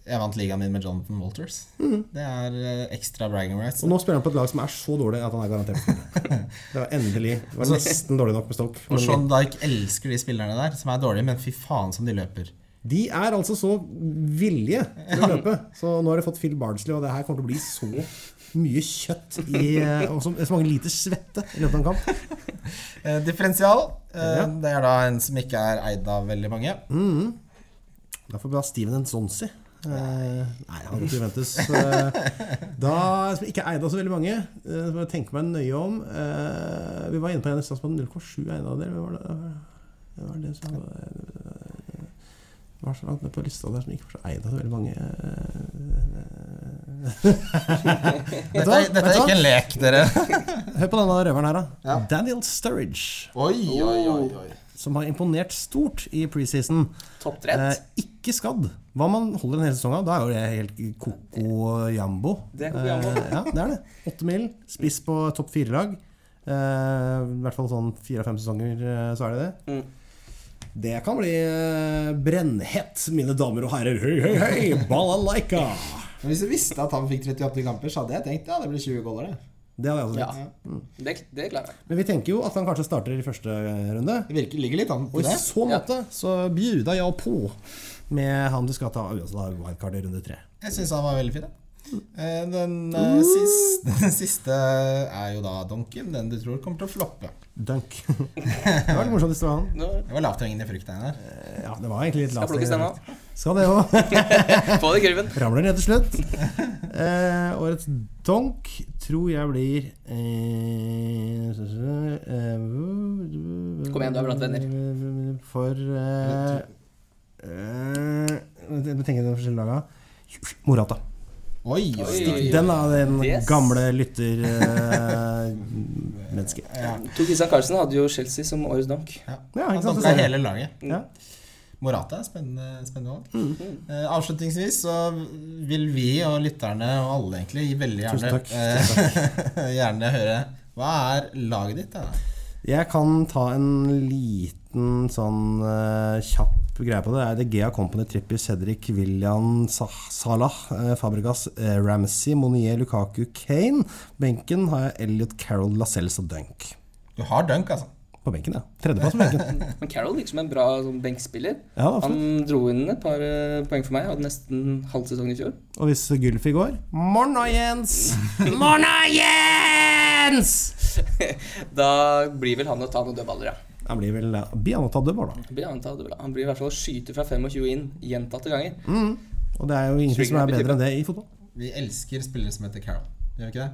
Speaker 1: jeg vant ligaen min med Jonathan Walters.
Speaker 3: Mm.
Speaker 1: Det er eh, ekstra bragging rights.
Speaker 3: Og nå spiller han på et lag som er så dårlig at han er garantert for det. Det var endelig. Det var nesten dårlig nok med Stoke.
Speaker 1: Og
Speaker 3: Men
Speaker 1: Sean Dyke elsker de spillerne der, som er dårlige, men fy faen som de løper.
Speaker 3: de er altså så villige til å løpe. Så nå har de fått Phil Bardsley, og det her kommer til å bli så mye kjøtt i, eh, og så, så mange liter svette i løpet av en kamp.
Speaker 1: Eh, differensial. Eh, Det er da en som ikke er eid av veldig mange.
Speaker 3: Mm. Derfor blir Steven en Sonsi. Eh, nei, han går til Juventus. Eh, da, som ikke eide av så veldig mange, eh, må jeg tenke meg nøye om eh, Vi var inne på en i stad som hadde 0,7 eiendeler. Hvem var det? Hvem var det som hadde- var så langt ned på lista der som ikke var så eid av så veldig mange Eh, Vet du
Speaker 1: Dette
Speaker 3: hva?
Speaker 1: er, dette er
Speaker 3: Vet du
Speaker 1: ikke
Speaker 3: hva?
Speaker 1: en lek, dere.
Speaker 3: Hør på denne røveren her, da.
Speaker 1: Ja.
Speaker 3: Daniel Sturridge.
Speaker 1: Oi, oi, oi, oi.
Speaker 3: som har imponert stort i preseason. Eh,
Speaker 2: Topptrent.
Speaker 3: ikke skadd. Hva man holder en hel sesong av, da er jo det helt koko jambo.
Speaker 2: Det er koko jambo.
Speaker 3: Eh, ja, det er det. Åtte mil, spiss på topp fire-lag. Eh, I hvert fall sånn fire-fem sesonger, eh, så er det det.
Speaker 2: Mm.
Speaker 3: Det kan bli eh, brennhett, mine damer og herrer. Høy, høy, høy! Balalaika!
Speaker 1: Men Hvis jeg visste at han fikk 38 kamper, så hadde jeg tenkt ja, det blir 20 goller. Det.
Speaker 3: Det hadde jeg også
Speaker 2: Ja.
Speaker 3: tenkt.
Speaker 2: Det, det klarer jeg.
Speaker 3: Men vi tenker jo at han kanskje starter i første eh, runde.
Speaker 1: det virker, ligger litt an
Speaker 3: Og
Speaker 1: til
Speaker 3: i
Speaker 1: det.
Speaker 3: så måte så bjuda jeg på med han du skal ta altså da wildcard i runde tre.
Speaker 1: Jeg syns han var veldig fin. jeg. Eh, Den, eh, siste, den siste er jo da Donken, den du tror kommer til å floppe.
Speaker 3: Dunk. det var litt morsomt hvis det var han.
Speaker 2: Nå
Speaker 1: Det var lavthengende frukt, Einar.
Speaker 3: Ja, det var egentlig litt
Speaker 2: skal jeg plukke stemma.
Speaker 3: lavt. Skal det òg.
Speaker 2: Få det i kurven.
Speaker 3: Ramler ned til slutt. Eh, årets donk tror jeg blir eh, Kom
Speaker 2: igjen, du er blant venner.
Speaker 3: For eh, eh, Jeg tenker de forskjellige laga. Morata.
Speaker 1: Oi, oi, oi.
Speaker 2: Oi.
Speaker 3: Den er den
Speaker 2: Yes.
Speaker 3: gamle eh, lyttermennesket.
Speaker 1: Ja,
Speaker 2: Tor Christian Carlsen hadde jo Chelsea som årets donk.
Speaker 1: ja.
Speaker 3: Ja,
Speaker 1: Han
Speaker 3: ikke sant, så
Speaker 1: donka
Speaker 3: ser jeg.
Speaker 1: hele laget.
Speaker 3: ja.
Speaker 1: Morata er spennende, spennende valg.
Speaker 3: Mm.
Speaker 1: Eh, avslutningsvis så vil vi og lytterne og alle egentlig veldig
Speaker 3: Tusen
Speaker 1: gjerne,
Speaker 3: takk,
Speaker 1: eh, gjerne høre Hva er laget ditt, da?
Speaker 3: Jeg kan ta en liten sånn eh, kjapp greie på det. Det er Gea Company, Trippier, Cedric, William, Sah Salah, eh, Fabregas, eh, Ramsey, Monier, Lukaku, Kane. På benken har jeg Elliot Carroll, Lascelles og Dunk.
Speaker 1: Du har dunk, altså.
Speaker 3: På benken, ja. Tredjeplass på benken.
Speaker 2: Men Carroll virker som en bra sånn, benkspiller.
Speaker 3: Ja, absolutt.
Speaker 2: Han dro inn et par eh, poeng for meg. Hadde nesten halv sesong i fjor.
Speaker 3: Og hvis Gylfi går Morna, Jens! Morna, Jens!
Speaker 2: Da blir vel han å ta noen dødballer, ja.
Speaker 3: Han blir vel ja, Bianotadde, bare, da.
Speaker 2: Han blir, han, tar dødballer. han blir i hvert fall å skyte fra 25 inn gjentatte ganger.
Speaker 3: Mm. Og det er jo ingenting som er bedre enn det i fotball.
Speaker 1: Vi elsker spillere som heter Carol. Gjør vi ikke det?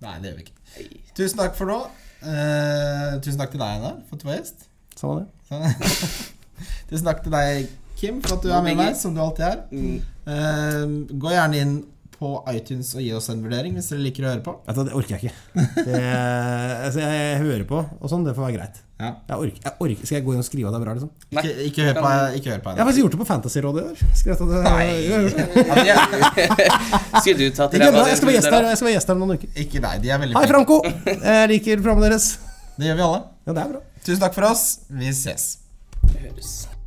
Speaker 1: Nei, det gjør vi ikke.
Speaker 2: Nei.
Speaker 1: Tusen takk for nå. Eh, tusen takk til deg, Einar, for at du var gjest.
Speaker 3: Samme Sånn det.
Speaker 1: Tusen takk til deg, Kim, for at du er med meg, som du alltid er.
Speaker 2: Mm.
Speaker 1: Eh, gå gjerne inn på iTunes og gi oss en vurdering hvis dere liker å høre på.
Speaker 3: Vet du hva, det orker jeg ikke. Det, altså, jeg hører på og sånn, det får være greit.
Speaker 1: Ja.
Speaker 3: Jeg orker, jeg orker. Skal jeg gå inn og skrive at det er bra, liksom?
Speaker 2: Nei.
Speaker 1: Ikke, ikke hør på, ikke hør på
Speaker 3: Jeg har
Speaker 1: Einar.
Speaker 3: faktisk gjort det på Fantasyrådet i år. Skrevet at det, jeg, har gjort det.
Speaker 1: Ja, de er-
Speaker 2: Skulle du tatt
Speaker 3: Ikke ennå, jeg skal være gjest her Jeg skal være gjest her om noen uker.
Speaker 1: Ikke deg, de er veldig
Speaker 3: Hei,
Speaker 1: flinke.
Speaker 3: Franco! Jeg liker programmet deres.
Speaker 1: Det gjør vi alle.
Speaker 3: Ja, det er bra.
Speaker 1: Tusen takk for oss. Vi ses.
Speaker 2: Høres.